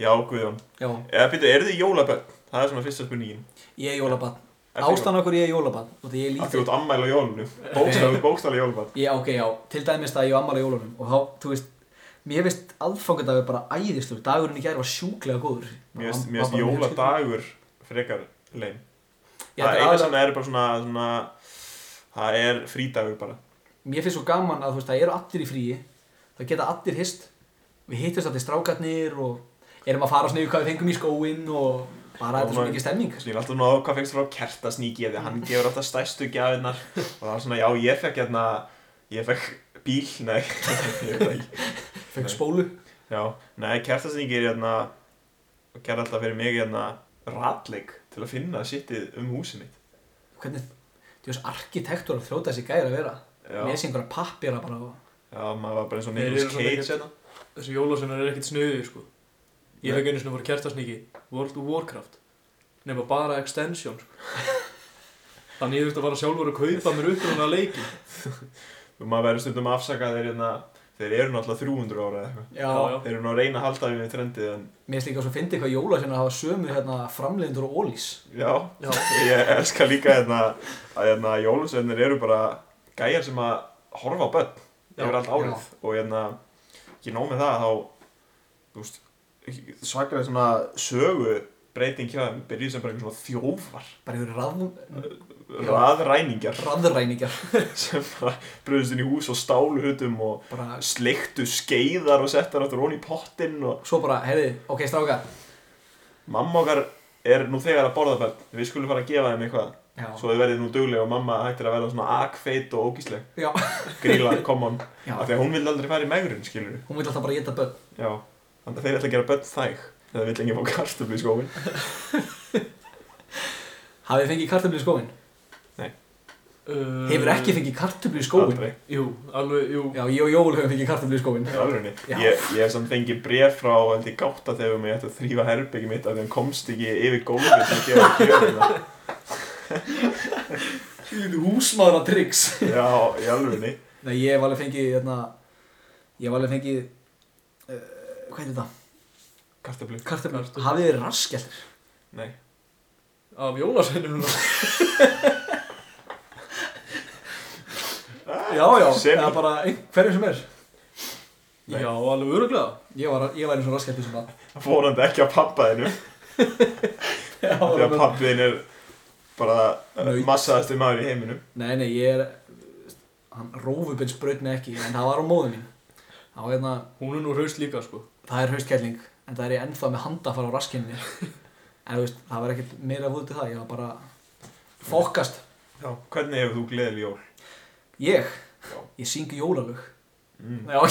Speaker 3: Já, Guðjón
Speaker 2: Já,
Speaker 3: Eða býttu, eru þið jólaböld? Það er svona fyrsta spurningin
Speaker 2: ég er jólabann.
Speaker 3: Er þið
Speaker 2: Ástæðan okkur ég er jólabann. Þú veit, ég er
Speaker 3: jól- Að
Speaker 2: lítill.
Speaker 3: þú ert ammæl á jólunum Bókstæðu, bókstæðu jólaböld
Speaker 2: Já, ok, já, til dæmis það ég á ammali jólunum og þá, þú veist, mér finnst aðfangadagur bara æðistur, dagurinn í gær var sjúklega góður
Speaker 3: Mér finnst-
Speaker 2: Var-
Speaker 3: mér
Speaker 2: var
Speaker 3: finnst
Speaker 2: bara mjög
Speaker 3: jóladagur frekar leim
Speaker 2: skemmtilegur. Ég
Speaker 3: Það
Speaker 2: held
Speaker 3: er
Speaker 2: að
Speaker 3: eina
Speaker 2: aðalega-
Speaker 3: sem er bara svona, svona Það er frídagur bara
Speaker 2: Mér finnst svo gaman að þú veist, það eru allir í fríi, það geta allir hist, við hittumst allir strákarnir og erum að fara svona yfir hvað við fengum í skóinn og bara
Speaker 3: Já,
Speaker 2: þetta er svo
Speaker 3: maður-
Speaker 2: mikið stemning.
Speaker 3: Ég er alltaf náðu hvað fengst frá kertasníki Því að hann gefur alltaf stæstu gjafinnar Og það var svona, já, ég fekk hérna Ég fekk bíl, nei ég veit það ekki.
Speaker 2: Fengum spólu.
Speaker 3: Já, nei, kertasníki er hérna Og gerði alltaf fyrir mig hérna Ratleik til að finna sittið um húsið mitt
Speaker 2: Hvernig, þú veist, arkitektur að þróta þessi gæri að vera.
Speaker 3: Já,
Speaker 2: Lesi einhverja pappira bara og...
Speaker 3: já maður var bara eins og
Speaker 4: Þeir eru
Speaker 3: Nicolas
Speaker 4: svona
Speaker 3: Cage
Speaker 4: ekkert-
Speaker 3: hérna
Speaker 4: þessi jólasennar er ekkert snuðið, sko. Ég
Speaker 3: Nei.
Speaker 4: fekk einu sinni að fara kertasniki, World of Warcraft, nema bara extension, sko. Þannig ég þurfti að fara sjálfur að kaupa mér upprúna leikin.
Speaker 3: Og maður verður stundum að afsaka þeir hérna Þeir eru náttúrulega 300 ára eða eitthvað
Speaker 2: Já,
Speaker 4: Já, já.
Speaker 3: Þeir eru nú að reyna að halda við trendið en
Speaker 2: mér finnst líka svo að fyndi eitthvað jóla sem að hafa sömu hérna, framleiðendur og ólís.
Speaker 3: já
Speaker 4: Já,
Speaker 3: Ég elska líka hérna að hérna jólusveinir eru bara gæjar sem að horfa á börn
Speaker 4: Já,
Speaker 3: yfir allt árið og hérna ekki nóg með það þá þú veist svakalega svona sögu breyting hjá þeim byrjuð sem bara einhver svona þjófar
Speaker 2: Bara yfir rað,
Speaker 3: raðræningjar
Speaker 2: raðræningar.
Speaker 3: sem bara bröðust inn í hús og stálu hlutum og
Speaker 2: Bara,
Speaker 3: sleiktu skeiðar og settar aftur onni í pottinn og
Speaker 2: svo bara, heyrði, ok, stráka.
Speaker 3: mamma okkar er nú þegar að borða börn við skulum fara að gefa þeim eitthvað
Speaker 2: Já,
Speaker 3: svo þið verðið nú duglega og mamma hættir að verða svona akfeit og ógísleg
Speaker 2: já,
Speaker 3: gríla, come on
Speaker 2: já.
Speaker 3: af því að hún vil aldrei fara í megrun, skilur
Speaker 2: Hún vil alltaf bara geta börn.
Speaker 3: já, þannig að þeir ætla að gera börn þæg það vil enginn fá kartöflu í skóin
Speaker 2: Hafið þið fengið kartöflu í skóin?
Speaker 4: Uh,
Speaker 2: Hefur ekki fengið kartöflu í skóin?
Speaker 3: aldrei,
Speaker 4: Jú, alveg, jú.
Speaker 2: Já, ég og Jól höfum fengið kartöflu í skóin.
Speaker 3: í alvörunni
Speaker 2: Já.
Speaker 3: ég, ég hef samt fengið bref frá held ég gátta þegar mig ætti að þrýfa herbyggi mitt af því að hann komst ekki yfir gólfið sem gefa kjöfina
Speaker 2: Húsmaður á triks.
Speaker 3: já, í alvörunni
Speaker 2: Nei, ég hef alveg fengið, hérna, ég hef alveg fengið, uh, hvað er þetta?
Speaker 3: kartöflu,
Speaker 2: Kartöflu.
Speaker 4: Kartöflu.
Speaker 2: Hafið þið raskjaldir?
Speaker 3: nei
Speaker 4: Af jólasennunum.
Speaker 2: Já, já,
Speaker 3: sem-
Speaker 2: eða bara ein- hverjum sem er.
Speaker 3: Nei.
Speaker 4: Já, alveg öruglega.
Speaker 2: Ég var, ég var eins og raskjaldur sem að.
Speaker 3: fórandi ekki að pappa þinu
Speaker 2: Já,
Speaker 3: því að
Speaker 2: alveg.
Speaker 3: pappi þinn er bara eh,
Speaker 2: Naut.
Speaker 3: massaðasti maður í heiminum
Speaker 2: Nei, nei, ég er, hann rófubins braut mig ekki, en það var á móðu mín. Það var hérna,
Speaker 4: Hún er nú hraust líka, sko.
Speaker 2: það er haustkelling, en það er ég ennþá með handafar á raskinni. En þú veist, það var ekkert meira að til það, ég var bara fókast.
Speaker 3: já, hvernig hefur þú gleðið jól?
Speaker 2: Ég,
Speaker 3: Já.
Speaker 2: ég syngi jólalög.
Speaker 3: Mm.
Speaker 2: Já, ok.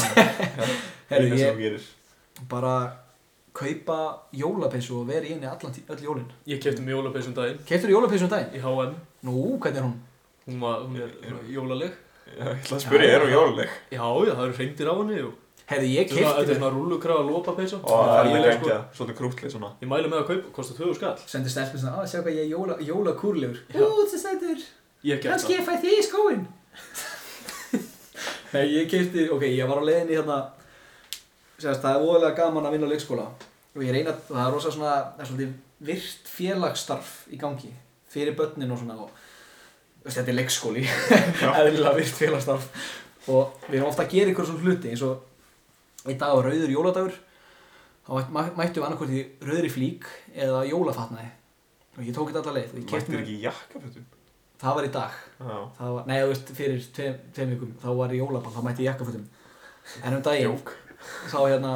Speaker 2: Herru,
Speaker 3: Eina sem
Speaker 2: ég
Speaker 3: þú gerir
Speaker 2: bara kaupa jólapeysu og vera í henni allan tí- öll jólin.
Speaker 4: Ég kefti mig jólapeysum daginn
Speaker 2: Keiftur jólapeysu um daginn?
Speaker 4: í H&M.
Speaker 2: Nú, hvernig er hún?
Speaker 4: Hún, var, hún er svona jólaleg.
Speaker 3: Já, ég ætla að spyrja, er hún jóluleg?
Speaker 4: Já, já, það eru hreindir á henni og
Speaker 2: Herri, ég
Speaker 4: Svona- þetta
Speaker 2: keifti
Speaker 4: er
Speaker 2: mér.
Speaker 4: svona rúllukrafa lópapeysa.
Speaker 3: Ó, það er
Speaker 2: Ég
Speaker 3: líka
Speaker 2: er
Speaker 3: ekki að, svolítið krútlið svona
Speaker 4: Ég mælu með að kaupa, kostar 20 skall.
Speaker 2: Sendi stelpur svona, að sjá hvað ég er jóla, jólakúrlegur.
Speaker 4: Já.
Speaker 2: Ú, þessi sætur.
Speaker 4: Ég hef gert það.
Speaker 2: ég fæ því í skóin. Nei, ég keipti, ok, ég var á leiðinni hérna, sérst, það er óðurlega gaman að vinna á leikskóla og ég reyna, og það er rosa svona, það er svolítið virt félagsstarf í gangi fyrir börnin og svona og, þú veist, þetta er leikskóli, eðlilega virt félagsstarf og við erum ofta að gera ykkur svona hluti eins og einn dag var rauður jóladagur þá mætt- mæ- mættum við annarkvort í rauðri flík eða jólafatnaði og ég tók þetta alla leið og ég keypti
Speaker 3: Mættir
Speaker 2: mér,
Speaker 3: ekki í jakkafötum?
Speaker 2: það var í dag
Speaker 3: Já.
Speaker 2: það var, nei, þú veist, fyrir tveim, tveim vikum þá var ég jólaball, þá mætti ég jakkafötum en um daginn
Speaker 3: Jók.
Speaker 2: þá hérna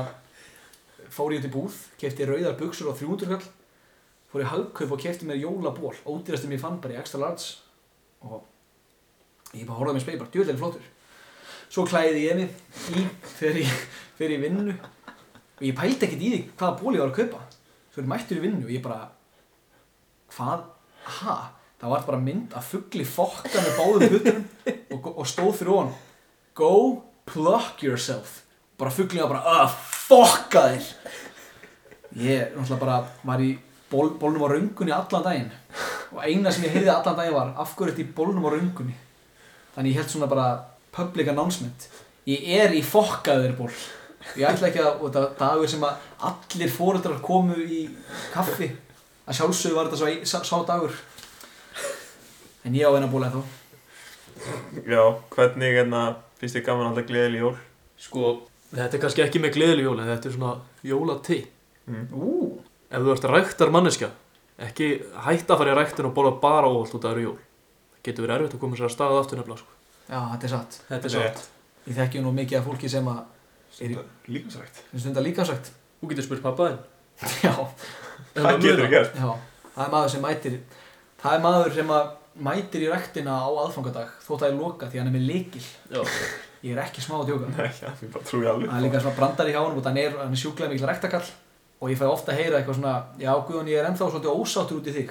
Speaker 2: fór ég út í búð, kefti rauðar buksur og 300 kall fór í hagkaup og kefti mér jólaból ódýrastum ég fann bara í extra large og ég bara horfði á mér speil bara djúðlega flottur svo klæði ég mig í fyrir, ég- fyrir ég vinnu og ég pældi ekkert í því hvaða ból ég var að kaupa svo er mættur í vinnu og ég bara hvað, ha það var bara mynd að fuggli fokka með báðum huttunum og, og stóð fyrir ofan go pluck yourself bara fuggli var bara að fokka þér ég náttúrulega bara var í ból, bólnum á röngunni allan daginn og eina sem ég heyrði allan daginn var af hverju þetta í bólnum á röngunni þannig ég held svona bara public announcement ég er í fokkaður ból ég ætla ekki að, og þetta var dagur sem að allir fóreldrar komu í kaffi að sjálfsögðu var þetta svo, ein- sá, sá dagur en ég á eina bóla ennþá
Speaker 3: Já, hvernig hérna, finnst þið gaman að halda gleðil í jól?
Speaker 4: Sko, þetta er kannski ekki með gleðileg jóla, þetta er svona jólati.
Speaker 2: ú,
Speaker 4: Ef þú ert ræktar manneskja, ekki hætt að fara í ræktin og borða bara óvalt út að eru jól. Það getur verið erfitt að koma sér að staða aftur nefnilega, sko.
Speaker 2: já, þetta er satt
Speaker 4: Þetta er
Speaker 3: Þetta er
Speaker 4: satt.
Speaker 2: ég þekki nú mikið af fólki sem að Er í-
Speaker 3: Líkasrækt.
Speaker 2: sem stundar líka sagt
Speaker 4: Þú getur spurt pappa þinn.
Speaker 2: já,
Speaker 4: Ef
Speaker 3: Það
Speaker 4: hann
Speaker 3: getur
Speaker 4: munar.
Speaker 3: við gert.
Speaker 2: já, það er maður sem mætir það er maður sem að mætir í rektina á aðfangadag þótt að það er loka því hann er með leikil
Speaker 4: Já,
Speaker 2: ég er ekki smá að djóka
Speaker 3: Nei, já, ég bara trúi alveg.
Speaker 2: það er líka svona brandari hjá hann og hann er, hann er sjúklega mikil rektakall og ég fæ ofta að heyra eitthvað svona já Guðun ég er ennþá svolítið ósáttur út í þig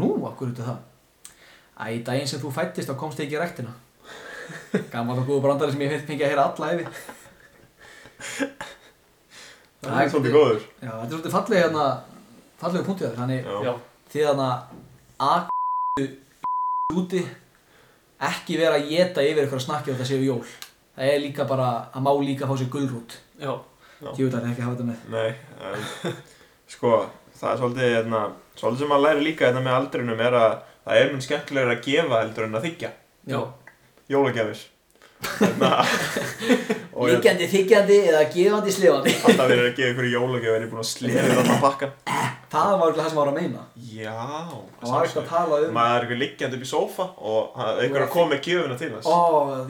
Speaker 2: nú, akkur út í það Æ, í daginn sem þú fættist þá komst ég ekki í rektina gammal og góðu brandari sem ég hef fengið að heyra alla hefi
Speaker 3: Það er svolítið góður.
Speaker 2: já, þetta er svolítið fallega hérna fallega punktið þér, þannig
Speaker 3: Já.
Speaker 4: já.
Speaker 2: þið hann að a**u úti ekki vera að geta yfir eitthvað snakki og þetta séu jól það er líka bara, að má líka fá sér gullrút
Speaker 4: Já,
Speaker 2: djúðar ekki að hafa þetta með
Speaker 3: Nei, um, sko, það er svolítið, hérna, svolítið sem maður læri líka hérna með aldrinum er að það er minn skemmtilegur að gefa heldur en að þykja.
Speaker 4: já,
Speaker 3: Jólagjafir. Hérna, og ég,
Speaker 2: Líkjandi, þykjandi eða gefandi, slefandi
Speaker 3: alltaf verið að gefa ykkur jólagjafir, ég er búin að slefið alltaf pakkan.
Speaker 2: Það var örugglega það sem var að meina
Speaker 3: Já,
Speaker 2: Það var ekkert að tala um
Speaker 3: maður er ykkur liggjandi upp í sófa og það- ykkur er að koma með gjöfuna til þess.
Speaker 2: Ó,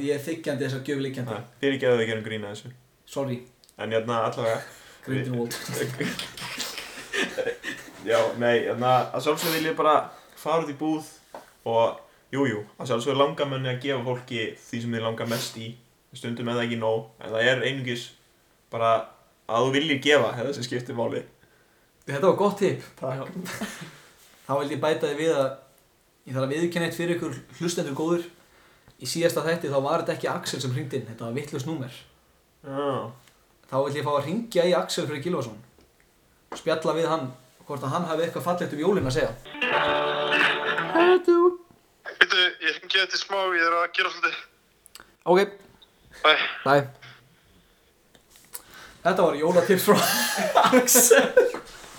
Speaker 2: ég er þykjandi þess að gjöf líkjandi
Speaker 3: Það fyrir geðu ekki að grína þessu.
Speaker 2: Sorry,
Speaker 3: En hérna, allavega,
Speaker 2: Grindelwald
Speaker 3: Já, nei, en að að sjálfsögðu vil ég bara fara út í búð og jújú, jú, að sjálfsögðu langar menni að gefa fólki því sem þið langar mest í stundum er það ekki nóg, en það er einungis bara að þú viljir gefa er það sem skiptir máli
Speaker 2: Þetta var gott tip
Speaker 3: Takk.
Speaker 2: Þá vildi ég bæta þið við að Ég þarf að viðkynna eitt fyrir ykkur hlustendur góður Í síðasta þætti þá var þetta ekki Axel sem hringdi inn Þetta var vittlust númer
Speaker 3: Já,
Speaker 2: Þá vildi ég fá að ringja í Axel fyrir Gilvason Spjalla við hann Hvort að hann hafi eitthvað fallegt um jólin að segja
Speaker 5: Býtu, ég hringi þetta smá, ég er að gera svolítið.
Speaker 2: Ok,
Speaker 5: Bæ.
Speaker 2: Bæ. Þetta var jólatips frá Axel.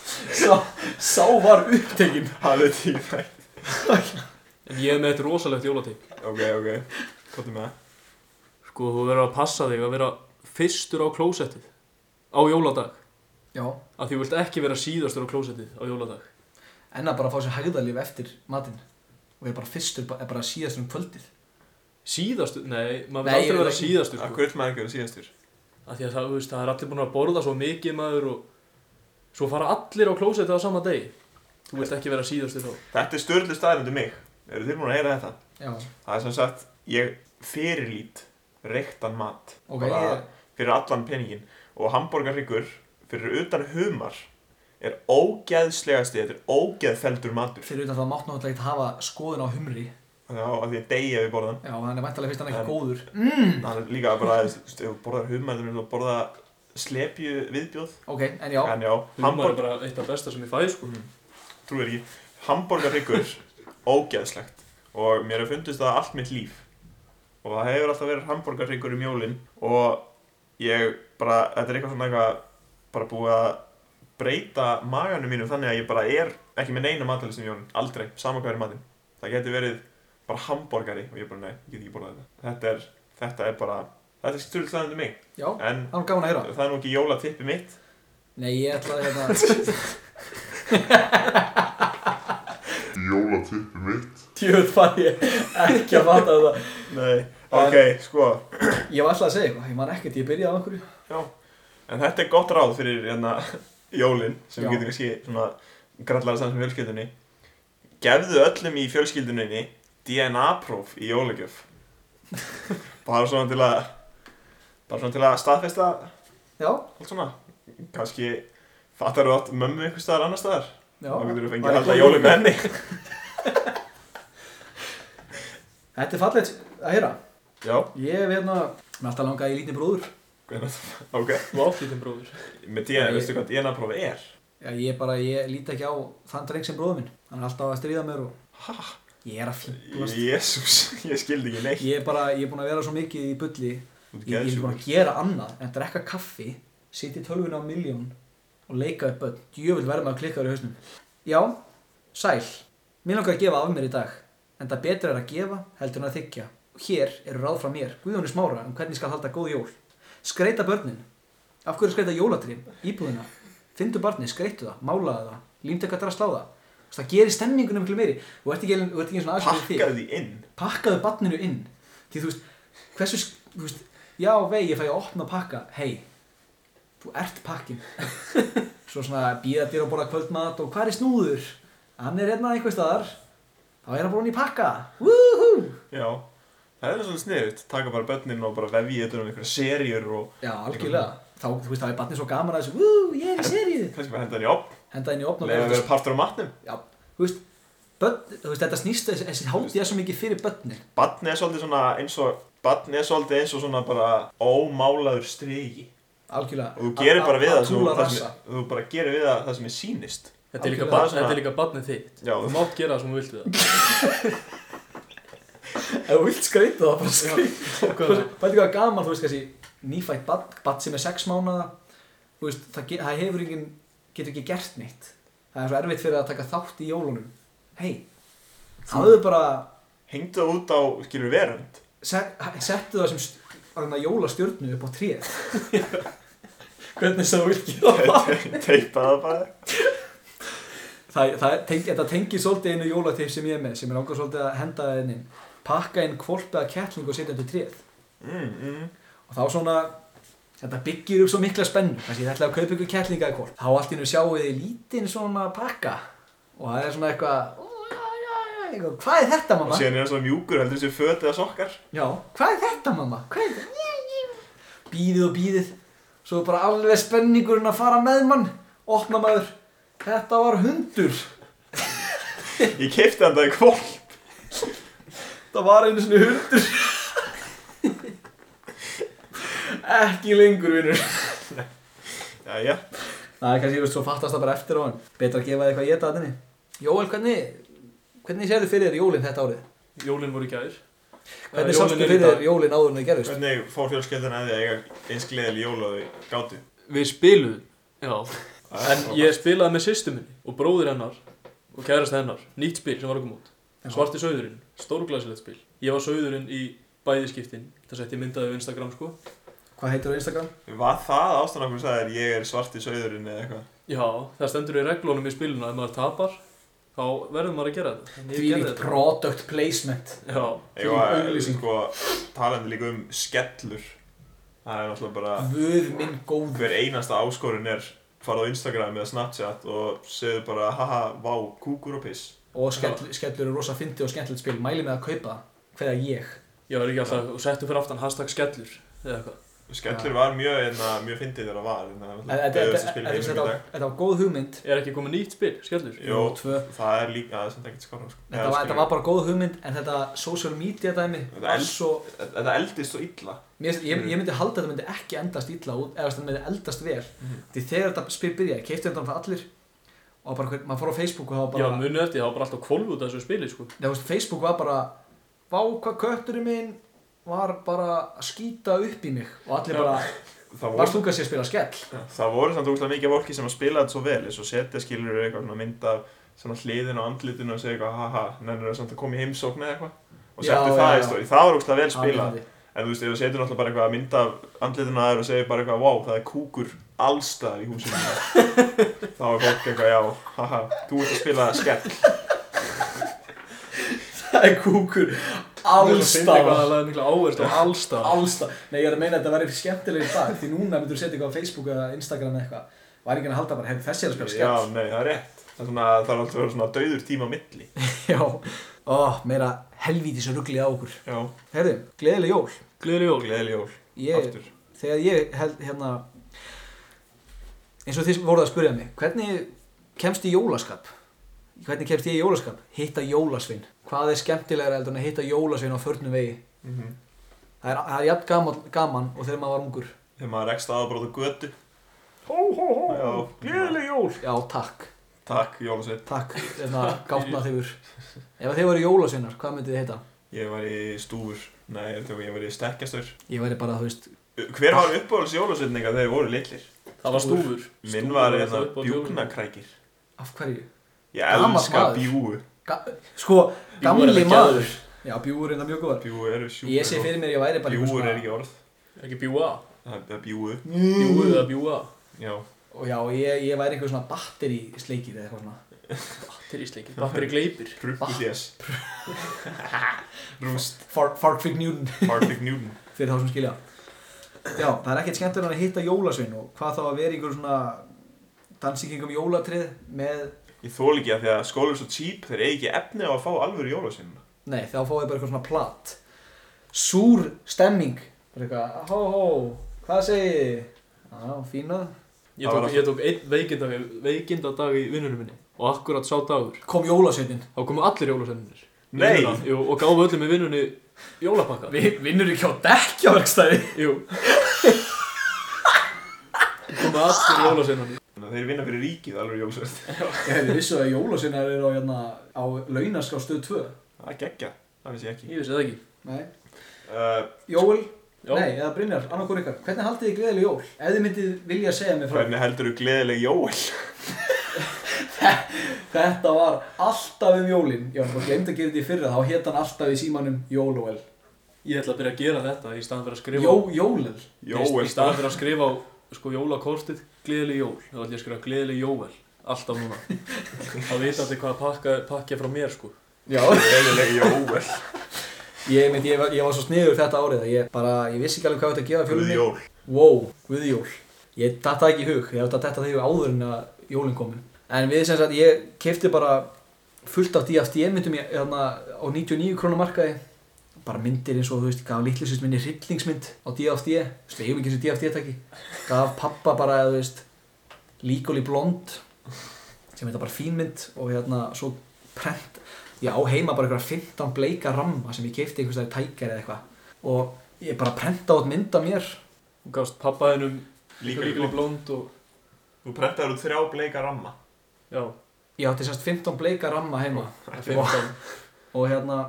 Speaker 2: Sá, sá var upptekinn.
Speaker 3: hafið tíma
Speaker 4: en ég er með eitt rosalegt jólatip.
Speaker 3: Ok, ok, hvað er með það?
Speaker 4: Sko, þú verður að passa þig að vera fyrstur á klósettið á jóladag.
Speaker 2: Já,
Speaker 4: Að því þú vilt ekki vera síðastur á klósettið á jóladag.
Speaker 2: en að bara fá sér hægðalíf eftir matinn. Og er bara fyrstur, er bara síðast um kvöldið.
Speaker 4: Síðastur? Nei, maður
Speaker 2: Nei,
Speaker 4: vil
Speaker 2: ég
Speaker 4: aldrei
Speaker 2: veit
Speaker 4: vera
Speaker 2: ekki.
Speaker 4: síðastur.
Speaker 3: Að
Speaker 4: Sko.
Speaker 3: hvern maður ekki verið síðastur?
Speaker 4: Af því að það, þú veist, það er allir búin að borða svo mikið maður og svo fara allir á klósettið á sama degi. Þú vilt ekki vera síðastur þá.
Speaker 3: Þetta er störlu staðrindu mig, eru þið búin að heyra þetta?
Speaker 2: Já,
Speaker 3: Það er sem sagt, ég fyrirlít reyktan mat
Speaker 2: Ok,
Speaker 3: bara
Speaker 2: ég-
Speaker 3: fyrir allan peningin og hambúrgarhryggur fyrir utan humar er ógeðslegasti, þetta er ógeðfeldur matur
Speaker 2: fyrir utan það mátt náttúrulega ekki hafa skoðun á humri.
Speaker 3: Já, af því að deyja við borðan
Speaker 2: Já, þannig væntalega finnst hann ekki
Speaker 3: En-
Speaker 2: góður.
Speaker 3: Það er líka bara, þú veist, ef þú borðar humar þannig að borða slepju viðbjóð
Speaker 2: Ok, en já,
Speaker 3: En já,
Speaker 4: Humar er
Speaker 3: hambúrgar,
Speaker 4: bara eitt af besta sem ég fæði sko.
Speaker 3: trúir ekki Hambúrgarhryggur, ógeðslegt og mér hefur fundist það allt mitt líf og það hefur alltaf verið hambúrgarhryggur um jólin og ég bara, þetta er eitthvað svona eitthvað bara búið að breyta maganum mínum þannig að ég bara er ekki með neina matalistum jólin, aldrei, sama hvað er í matinn það geti verið bara hambúrgari og ég bara nei, ég get ekki borðað þetta þetta er Þetta er bara, þetta er stjórnlega um mig
Speaker 2: Já, það
Speaker 3: En
Speaker 2: var gaman að heyra
Speaker 3: það er nú ekki jólatippi mitt
Speaker 2: Nei, ég ætlaði hérna
Speaker 5: Jólatippi mitt
Speaker 2: Tjöfn fann ég ekki að fatta þetta
Speaker 3: Nei Ok, sko
Speaker 2: Ég var alltaf að segja, eitthvað, ég man ekkert, ég byrjaði á einhverju
Speaker 3: Já En þetta er gott ráð fyrir hérna jólin sem
Speaker 2: Já.
Speaker 3: við getum kannski svona grallara saman sem fjölskyldunni Gefðu öllum í fjölskylduninni DNA-próf í jólagjöf Bara svona til að bara svona til að staðfesta
Speaker 2: Já,
Speaker 3: allt svona kannski fattar þú átt mömmu einhvers staðar annar staðar
Speaker 2: já
Speaker 3: þá getur þú fengið
Speaker 2: Var
Speaker 3: að halda
Speaker 2: eitthvað-
Speaker 3: jólum með henni
Speaker 2: Þetta er fallegt að heyra
Speaker 3: Já,
Speaker 2: Ég hef hérna, mér alltaf langað í lítið bróður
Speaker 3: hvernig Ok
Speaker 4: Þú átt lítinn bróður.
Speaker 3: Með DNA,
Speaker 2: Ég-
Speaker 3: veistu hvað DNA-próf er?
Speaker 2: Já, ég bara, ég líti ekki á þann dreng sem bróður minn Hann er alltaf að stríða mér og
Speaker 3: Ha?
Speaker 2: Ég er að fíblast
Speaker 3: Jésús, ég skildi ekki neitt
Speaker 2: Ég er bara, ég er búin að vera svo mikið í bulli
Speaker 3: Þú
Speaker 2: Ég,
Speaker 3: ert
Speaker 2: ég er búin
Speaker 3: geðsjúkur.
Speaker 2: að gera annað en drekka kaffi Sitja í tölvuna á miljón Og leika upp öll Djöfull verður maður klikkaður í hausnum Já, sæl Mér langar að gefa af mér í dag En það betra er að gefa heldur en að þykja Og hér eru ráð frá mér Guðjóni smára um hvernig skal halda góð jól Skreita börnin Af hverju skreita jólatrým? Íbúðina Fyndu barni, skreitu það, málaðu það Límdu eitthvað drast á það Það gerir stemningunum miklu meiri Þú ert ekki, þú ert ekki svona aðeins fyrir þig
Speaker 3: Pakkaðu því inn
Speaker 2: pakkaðu barninu inn því þú veist, hversu sk- þú veist, já vei, ég fæ að opna og pakka hei, þú ert pakkin svo svona býða þér að borða kvöldmat og hvað er snúður hann er hérna einhver staðar þá er hann búinn í pakka Woohoo!
Speaker 3: Já, það er svona sniðut Taka bara börnin og bara vefja þetta um einhverja serjur og
Speaker 2: já, algjörlega þá, þú veist, þá er barnið svo gaman að þessu Woo, ég er í seríu
Speaker 3: kannski bara henda henni upp
Speaker 2: henda inn í opna og
Speaker 3: Lega að vera partur á matnum
Speaker 2: já, þú veist, börn, þú veist þetta snýst þessi, þessi hátíð er svo mikið fyrir börnin
Speaker 3: Barn er svolítið svona eins og Barn er svolítið eins og svona bara ómálaður strigi
Speaker 2: algjörlega
Speaker 3: Og þú gerir bara við
Speaker 2: Að-
Speaker 3: það
Speaker 2: að
Speaker 3: sem,
Speaker 2: túla
Speaker 3: það sem
Speaker 2: rassa.
Speaker 3: Þú bara gerir við það það sem er sýnist
Speaker 4: Þetta er líka,
Speaker 2: Algjörlega.
Speaker 4: ba
Speaker 3: Bara svona-
Speaker 4: þetta er líka barnið þitt.
Speaker 3: Já,
Speaker 4: Þú
Speaker 3: þú-
Speaker 4: mátt gera það sem þú vilt við það.
Speaker 2: Ef þú vilt skreita það, bara skreita
Speaker 4: hvað er það?
Speaker 2: Bæti hvað gaman, þú veist kannski nýfætt badd, badd sem er sex mánuða þú veist, það, ge- það hefur engin getur ekki gert neitt það er svo erfitt fyrir það að taka þátt í jólunum hei, hafðu bara
Speaker 3: hengdu það út á, skilur verönd
Speaker 2: set, settu það sem st- þarna jólastjörnu upp á tréð hvernig sem þú vilt gera það
Speaker 3: Teipa það bara
Speaker 2: það, það er- tengi, þetta tengir svolítið einu jólatip sem ég er með sem er ákveð svolítið að henda það inn pakka inn kvolpið að kettling og setja þetta tréð
Speaker 3: mm, mm.
Speaker 2: og þá svona þetta byggir upp svo mikla spennu kannski þið ætlaði að kaupa ykkur kettlinga eitthvað þá allt í hennu sjáu þið lítinn svona pakka og það er svona eitthvað "Ó, já, já, já," eitthvað, hvað er þetta
Speaker 3: Og
Speaker 2: mamma?
Speaker 3: síðan er það svona mjúkur heldur þessi föt eða sokkar
Speaker 2: já, hvað er þetta mamma? hvað er þetta? býðið og býðið svo bara alveg spenningurinn að fara með mann opna maður þetta var hundur
Speaker 3: Ég keipti hann það í kvolp
Speaker 2: það var einu svona hundur ekki lengur vinnur
Speaker 3: Jæja,
Speaker 2: Það er kannski, þú veist, svo fattast það bara eftir á hann. Betra að gefa þig eitthvað að geta að henni. Jóel, hvernig, hvernig sérðu fyrir þér jólinn þetta árið?
Speaker 4: Jólinn voru í gær.
Speaker 2: Hvernig
Speaker 4: Eh,
Speaker 2: sástu
Speaker 4: jólin eru í
Speaker 2: fyrir
Speaker 4: dag.
Speaker 2: þér jólinn áður en þið gerðist?
Speaker 3: hvernig fór fjölskyldan að því að eiga eins gleðileg jól og þau gátu?
Speaker 4: Við spiluðum, já,
Speaker 3: Það er
Speaker 4: en
Speaker 3: frábært.
Speaker 4: ég spilaði með sýstu minni og bróðir hennar og kærasta hennar, nýtt spil sem var okkur út.
Speaker 2: Já.
Speaker 4: Svarti Söðurinn, stórglæsilegt skil. Ég var Söðurinn í bæðiskiptin, það sett ég myndaði á Instagram sko.
Speaker 2: Hvað heitir þú á Instagram?
Speaker 3: Var það ástæðan okkur sagðir ég er svarti söðurinn eða eitthvað?
Speaker 4: Já, það stendur í reglunum í spilinu að ef maður tapar, þá verður maður að gera þetta. En ég gerði
Speaker 2: Dvílíkt
Speaker 4: þetta.
Speaker 2: product placement.
Speaker 4: Já,
Speaker 2: Fyrir
Speaker 3: Eða,
Speaker 2: auglýsing.
Speaker 3: sko, talandi líka um skellur Það er náttúrulega bara
Speaker 2: Vöð minn góður.
Speaker 3: Hver einasta áskorun er farað á Instagram eða Snapchat og segðu bara haha, vá, kúkur og piss
Speaker 2: Og skell, skellur eru rosa fyndi og skemmtilegt spil. Mæli með að kaupa það. Hverða ég?
Speaker 4: ég var ekki alltaf, og settu fyrir aftan hashtag skellur eða eitthvað.
Speaker 3: Skellur
Speaker 2: Já.
Speaker 3: var mjög, einna, mjög fyndið þegar það var en það er
Speaker 2: En þetta-
Speaker 3: náttúrulega beðustu spil
Speaker 2: þetta-
Speaker 3: heimur í
Speaker 2: Þetta
Speaker 3: dag
Speaker 2: var- þetta var góð hugmynd.
Speaker 4: Er ekki komið nýtt spil, skellur?
Speaker 3: Jó,
Speaker 2: tvö.
Speaker 3: það er líka, það er samt ekkert skora sko.
Speaker 2: Þetta var, þetta var bara góð hugmynd en þetta social media dæmi
Speaker 3: Þetta
Speaker 2: var
Speaker 3: eld-
Speaker 2: svo...
Speaker 3: Þetta eldist svo illa
Speaker 2: Mér, finnst- ég, ég myndi halda að þetta myndi ekki endast illa út eða þetta myndi eldast vel
Speaker 3: Mhm.
Speaker 2: því þegar þetta spil byrjaði, keiptu þetta fyrir allir og bara, hver- maður fór á Facebook og það var
Speaker 4: Já,
Speaker 2: bara
Speaker 4: munið eftir, það var bara alltaf kvolv út af þessu spili sko.
Speaker 2: Nei, þú veist, Facebook var bara Vá, hvað kötturinn minn var bara að skýta upp í mig og allir
Speaker 4: Já.
Speaker 2: bara,
Speaker 3: Það voru
Speaker 2: varst þú kannski að spila skell?
Speaker 3: Það voru samt ógæslega mikið af fólki sem að spila þetta svo vel eins og setja skilur eitthvað svona mynd af svona hliðin á andlitinu og segja eitthvað haha, nennir það samt að koma í heimsókn eða eitthvað og
Speaker 2: Já,
Speaker 3: setja
Speaker 2: já,
Speaker 3: það í
Speaker 2: já.
Speaker 3: stóri, það var ógæslega vel spilað
Speaker 2: Alveg.
Speaker 3: En þú veist, ef þú setur náttúrulega bara eitthvað að mynda af andlitinu aðeins og segir bara eitthvað, wow, það er kúkur allstaðar í húsinu. þá er fólk eitthvað, já, haha, þú ert að spila skell.
Speaker 2: Það er kúkur
Speaker 4: Það
Speaker 2: allstað
Speaker 4: er mikla áherslu á allstað
Speaker 2: Allstað Nei, ég er að meina að þetta væri skemmtilegir í dag Því núna myndur þú setja eitthvað á Facebook eða Instagram eða eitthvað Væri ekki að halda bara, hefur þessi er að spila
Speaker 3: Já,
Speaker 2: skemmt
Speaker 3: nei, það er rétt. Það er svona, það er alltaf að vera svona dauður tíma á milli.
Speaker 2: Já Ó, meira helvítis rugli á okkur
Speaker 3: Já,
Speaker 2: Herðu, gleðileg jól
Speaker 4: Gleðileg jól
Speaker 3: gleðileg jól.
Speaker 2: Ég,
Speaker 3: Aftur.
Speaker 2: þegar ég held, hérna Eins og þið voruð að spyrja mig Hvernig kemst í jólaskap? Hvernig kemst ég í jólaskap? Hitta jólasvin Hvað er skemmtilegra heldur en að hitta jólasvin á förnum vegi?
Speaker 3: Mm
Speaker 2: Það er, það er jafn gaman, gaman og þegar maður var ungur
Speaker 3: Þegar maður rekst aðabróð á götu.
Speaker 4: Hó hó
Speaker 3: Já.
Speaker 4: Gleðileg jól
Speaker 2: Já, takk,
Speaker 3: Takk, Jólasveit.
Speaker 2: takk, þetta gátna þifur Ef þið voru jólasveinar, hvað myndið þið heita?
Speaker 3: Ég var í stúfur. Nei, ég, ég var í stekkjastur.
Speaker 2: Ég væri bara, þú veist,
Speaker 3: Hver var uppáhalds Jólasveitninga þegar þeir voru litlir?
Speaker 4: Það var stúfur
Speaker 3: Minn
Speaker 4: Stúfur
Speaker 3: var
Speaker 4: það
Speaker 3: hérna
Speaker 4: upp á dögunum.
Speaker 3: bjúknakrækir.
Speaker 2: af hverju?
Speaker 3: Ég
Speaker 2: Gamall
Speaker 3: elska
Speaker 2: maður.
Speaker 3: bjúu.
Speaker 2: Ga sko,
Speaker 4: Bjúgur er
Speaker 2: gamli
Speaker 4: ekki
Speaker 2: maður Já, bjúur er það mjög góðar
Speaker 3: Bjúu eru sjúkar.
Speaker 2: Ég sé fyrir mér, ég væri bara
Speaker 3: Bjúur er ekki orð.
Speaker 4: Ekki bjúa
Speaker 3: Það er- það er bjúu.
Speaker 4: Bjúu eða bjúa
Speaker 3: Já.
Speaker 2: Mm. Og já, ég, ég væri einhver svona batteri sleikir eða eitthvað svona
Speaker 4: Batterísleikir Batteri gleipir
Speaker 3: Prukkutés. Rúst.
Speaker 2: Far- Fartfig Newton,
Speaker 3: Hardik Newton.
Speaker 2: fyrir þá sem skilja Já, það er ekkert skemmtilega að hitta jólasvein og hvað þá að vera einhver svona dansingingum jólatrið með
Speaker 3: Ég þól ekki að því að skóla er svo cheap, þeir eigi ekki efni á að fá alvöru jólasinna.
Speaker 2: Nei, þá fáið bara eitthvað svona plat Súr stemming Bara eitthvað, hó hó, hvað segið þið? Já, fína
Speaker 4: Ég
Speaker 3: Það var
Speaker 4: tók,
Speaker 3: að-
Speaker 4: ég tók einn veikindadag, veikindadag í vinnunum minni og akkurat sá dagur
Speaker 2: Kom jólasveitin
Speaker 4: þá komu allir jólasennir
Speaker 3: Nei!
Speaker 4: Jú, og gáfu öllum í vinnunni jólapakka
Speaker 2: Vinnur ekki á dekkjaverkstæði
Speaker 4: Jú komu allir jólasennir
Speaker 3: Þannig að þeir vinna fyrir ríkið alvöru jólasinn.
Speaker 2: Ég hefði vissu að jólasveinar eru á, hérna, á launaská stöð 2
Speaker 3: Það er geggja. Það vissi ég ekki.
Speaker 4: Ég vissi það ekki
Speaker 2: Nei
Speaker 3: Uh,
Speaker 2: Jóel,
Speaker 4: Já.
Speaker 2: nei, eða Brynjar, annarkur ykkar Hvernig haldið þið gleðileg jól? Ef þið myndið vilja segja mér frá
Speaker 3: hvernig heldur þú gleðileg jól?
Speaker 2: Þetta var alltaf um jólin Ég var bara glemt að gera þetta í fyrra Þá hétt hann alltaf í símanum Jóluel
Speaker 4: Ég ætla að byrja að gera þetta í staðan fyrir að skrifa
Speaker 2: Jó, Jólel
Speaker 3: Jóel.
Speaker 4: í staðan fyrir að skrifa á sko jólakortið gleðileg jól þá ætla ég að skrifa gleðileg jóel alltaf núna það vita allir hvað pakka, pakka frá mér sko
Speaker 2: Já
Speaker 3: Gleðileg jóel.
Speaker 2: Ég, mynd, ég, var, ég var svo sniður þetta árið að ég bara, ég vissi ekki alveg hvað ég átti að gefa
Speaker 3: Guð
Speaker 2: fjölunni.
Speaker 3: jól.
Speaker 2: Wow, guð jól. Ég datt það ekki í hug, ég átti að detta þegar áður en að jólinn komin. En við sem sagt, ég kefti bara fullt af DFD myndum ég, þarna, á 99 krónar markaði. Bara myndir eins og, þú veist, gaf litlisins minni hryllingsmynd á DFD. Þú veist, eigum ekki þessi DFD-taki. Gaf pappa bara, þú veist, líkoli blond, sem heita bara fínmynd og hérna, svo prent ég á heima bara einhverja 15 bleika ramma sem ég keipti einhvers staðar í tækjar eða eitthvað og ég bara prenta át mynd af mér
Speaker 4: og gafst pappaðinum
Speaker 3: Líka
Speaker 4: líka líka
Speaker 3: líka.
Speaker 4: blónd og
Speaker 3: Þú prentaður út þrjá bleika ramma.
Speaker 4: já
Speaker 2: ég átti sérst 15 bleika ramma heima
Speaker 4: það er 15
Speaker 2: og hérna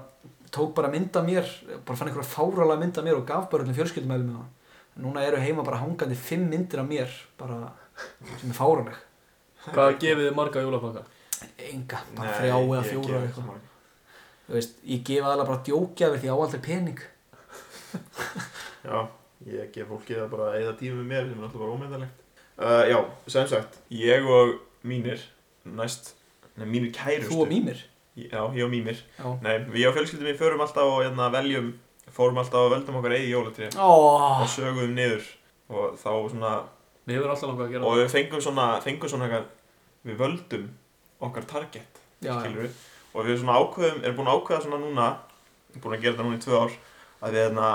Speaker 2: tók bara mynd af mér bara fann einhverja fáralega mynd af mér og gaf bara öllum fjölskyldumælum með það núna eru heima bara hangandi 5 myndir af mér bara sem er fáraleg
Speaker 4: Hvað gefið þið marga jólapakka?
Speaker 2: enga, bara þrjá eða fjóra eða eitthvað Þú veist, ég gef aðalega bara djókjafir því ég á aldrei pening
Speaker 3: Já, ég gef fólki það bara eða tíma með mér sem er alltaf bara ómyndalegt. Uh, já, sem sagt, ég og mínir, næst, nei, mínir kærustu.
Speaker 2: þú og mýmir
Speaker 3: Já, ég og mínir.
Speaker 2: Já.
Speaker 3: Nei, við og fjölskyldum við förum alltaf og hérna, veljum, fórum alltaf og veldum okkar eigið jólatré
Speaker 2: Oh,
Speaker 3: og sögum niður og þá svona,
Speaker 4: Mér hefur alltaf langað að gera
Speaker 3: og við fengum svona, fengum svona eitthvað, við völdum okkar target,
Speaker 2: já, já.
Speaker 3: skilur við, og við svona ákveðum, erum búin að ákveða svona núna, búin að gera þetta núna í tvö ár, að við hérna,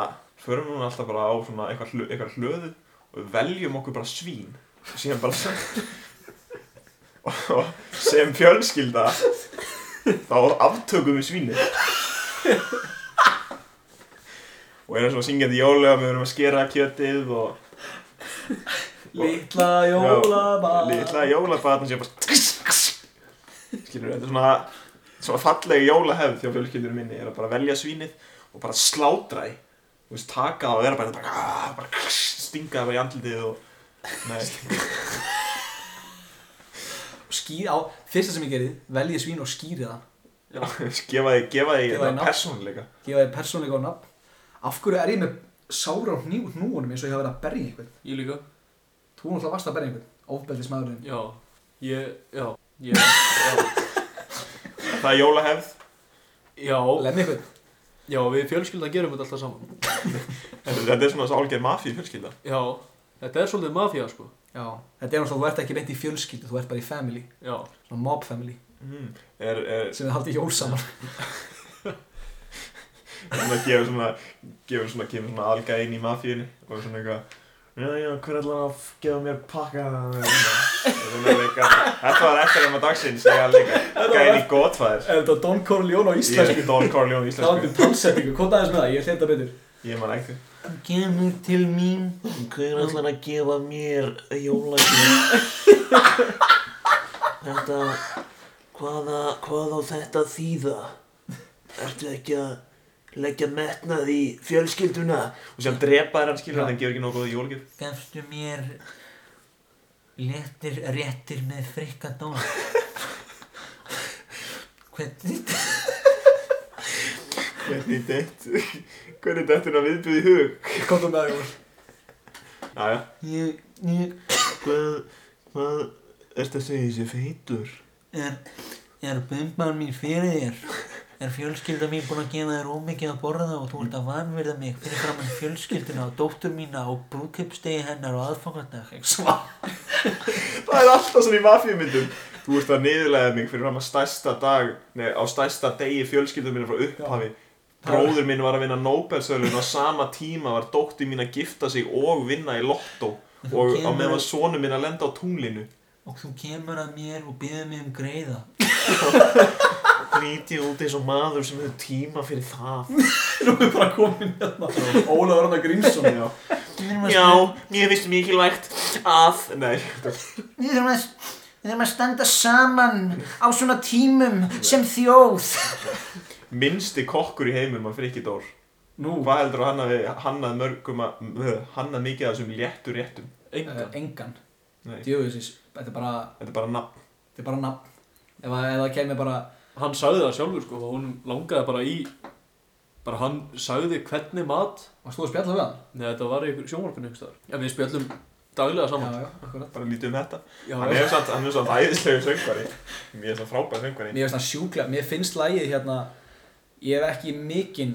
Speaker 3: förum núna alltaf bara á svona eitthvað, hlu, eitthvað hlöðu og við veljum okkur bara svín og síðan bara sem og sem fjölskylda þá aftökum við svínið og erum svona syngjandi jólega við verum að skera kjötið og
Speaker 2: litla
Speaker 3: Já,
Speaker 2: jólabar
Speaker 3: litla jólabarn sem bara skilur þetta er svona svona fallega jólahefð hjá fjölskyldunum minni er að bara velja svínið og bara slátra í þú veist, taka það og vera bara, bara, bara stinga það bara í andlitið og nei,
Speaker 2: skýr á, fyrsta sem ég gerði, veljið svín og skýrið það
Speaker 3: gefa því, gefa því
Speaker 2: Gefa því
Speaker 3: hérna
Speaker 2: nafn.
Speaker 3: persónuleika
Speaker 2: gefa þér persónleika og nafn af hverju er ég með sára á hníf, hnúunum eins og ég hafa verið að berja einhvern
Speaker 4: Ég líka
Speaker 2: Þú náttúrulega varst að berja einhvern, ofbeldismadurinn
Speaker 4: Já Ég, já Ég, já
Speaker 3: Það er jólahefð
Speaker 4: Já,
Speaker 2: Lemmi einhvern
Speaker 4: já við fjölskyldan gerum þetta alltaf saman
Speaker 3: Þetta er svona sálgerð mafíu fjölskylda
Speaker 4: Já Þetta er svolítið mafía sko
Speaker 2: Já, þetta er náttúrulega, þú ert ekki beint í fjölskyldu, þú ert bara í family
Speaker 4: Já
Speaker 2: Svona mob family,
Speaker 3: mm. Er, er
Speaker 2: sem þið haldið jól saman
Speaker 3: svona gefur svona gefur svona, kemur svona alga inn í mafíunni og svona eitthvað Já, já, hver ætlar að f- gefa mér pakka Og svona leika Þetta var eftir um að dagsins ég að leika Gæðin í Godfather
Speaker 2: Er þetta Don Corleone á
Speaker 3: Ég er Don Corleone í
Speaker 2: Talandi
Speaker 3: íslensku
Speaker 2: um talsetningu, hvað aðeins með það, ég hlita þetta betur
Speaker 3: Ég man ekki
Speaker 6: Kemur til mín Hver ætlar að gefa mér jólagjöf? Þetta hvaða, hvað á þetta að þýða? Ertu ekki að leggja metnað í fjölskylduna?
Speaker 3: Og sem drepa þér hann skilur hann gefur ekki nógu góð jólgjöf
Speaker 6: Gafstu mér léttir réttir með frikadón Hvernig
Speaker 3: Hvernig dett Hvernig dett hún að viðbyrði í hug
Speaker 2: Komdu með það, Jón
Speaker 3: Jæja
Speaker 6: ég, ég
Speaker 3: Hvað, hvað Ertu að segja þessi feitur?
Speaker 6: er, er bumban mín fyrir þér Er fjölskylda mín búin að gefa þér ómikið að borða og þú ert að vanverða mig fyrir framann fjölskylduna og dóttur mína og brúðkaupstegi hennar og aðfangardag
Speaker 2: Svá
Speaker 3: Það er alltaf svona í mafíumyndum Þú ert að niðurlega mig fyrir fram að stærsta dag Nei, á stærsta degi fjölskyldum minna frá upphafi Bróður minn var að vinna Nobelsölun og á sama tíma var dóttir mín að gifta sig og vinna í lottó og á meðan var sonu mín að lenda á tunglinu
Speaker 6: og þú kemur að mér og byrður mig um greiða
Speaker 3: Gríti út eins og maður sem hefur tíma fyrir það
Speaker 2: Nú er bara komin hérna Ólafur Arnar Grímsson
Speaker 3: Já,
Speaker 6: Við þurfum að
Speaker 3: Já mér finnst mikilvægt að Nei,
Speaker 6: Við þurfum að, við þurfum að standa saman á svona tímum sem þjóð.
Speaker 3: minnsti kokkur í heimum að frikki Dór
Speaker 2: Nú,
Speaker 3: Hvað heldur að hann hafi hannað mörgum að hannað mikið af þessum léttu réttum
Speaker 2: engan,
Speaker 4: Engan
Speaker 2: eh, engan.
Speaker 3: Nei,
Speaker 2: Djöfusins, þetta er bara,
Speaker 3: þetta er bara nafn
Speaker 2: þetta er bara nafn Ef að- ef það kemur bara
Speaker 4: Hann sagði það sjálfur sko og honum langaði bara í Bara hann sagði hvernig mat
Speaker 2: Varst þú að spjalla við hann?
Speaker 4: Nei, þetta var í einhver- sjónvarpinu einhvers staðar Já, við spjöllum daglega saman
Speaker 2: Já, já, akkurat
Speaker 3: bara lítið um þetta
Speaker 4: Já,
Speaker 3: hann er samt, hann er samt æðislegu söngvari mér er samt frábær söngvari
Speaker 2: Mér finnst það sjúklega, mér finnst lagið hérna Ég er ekki mikinn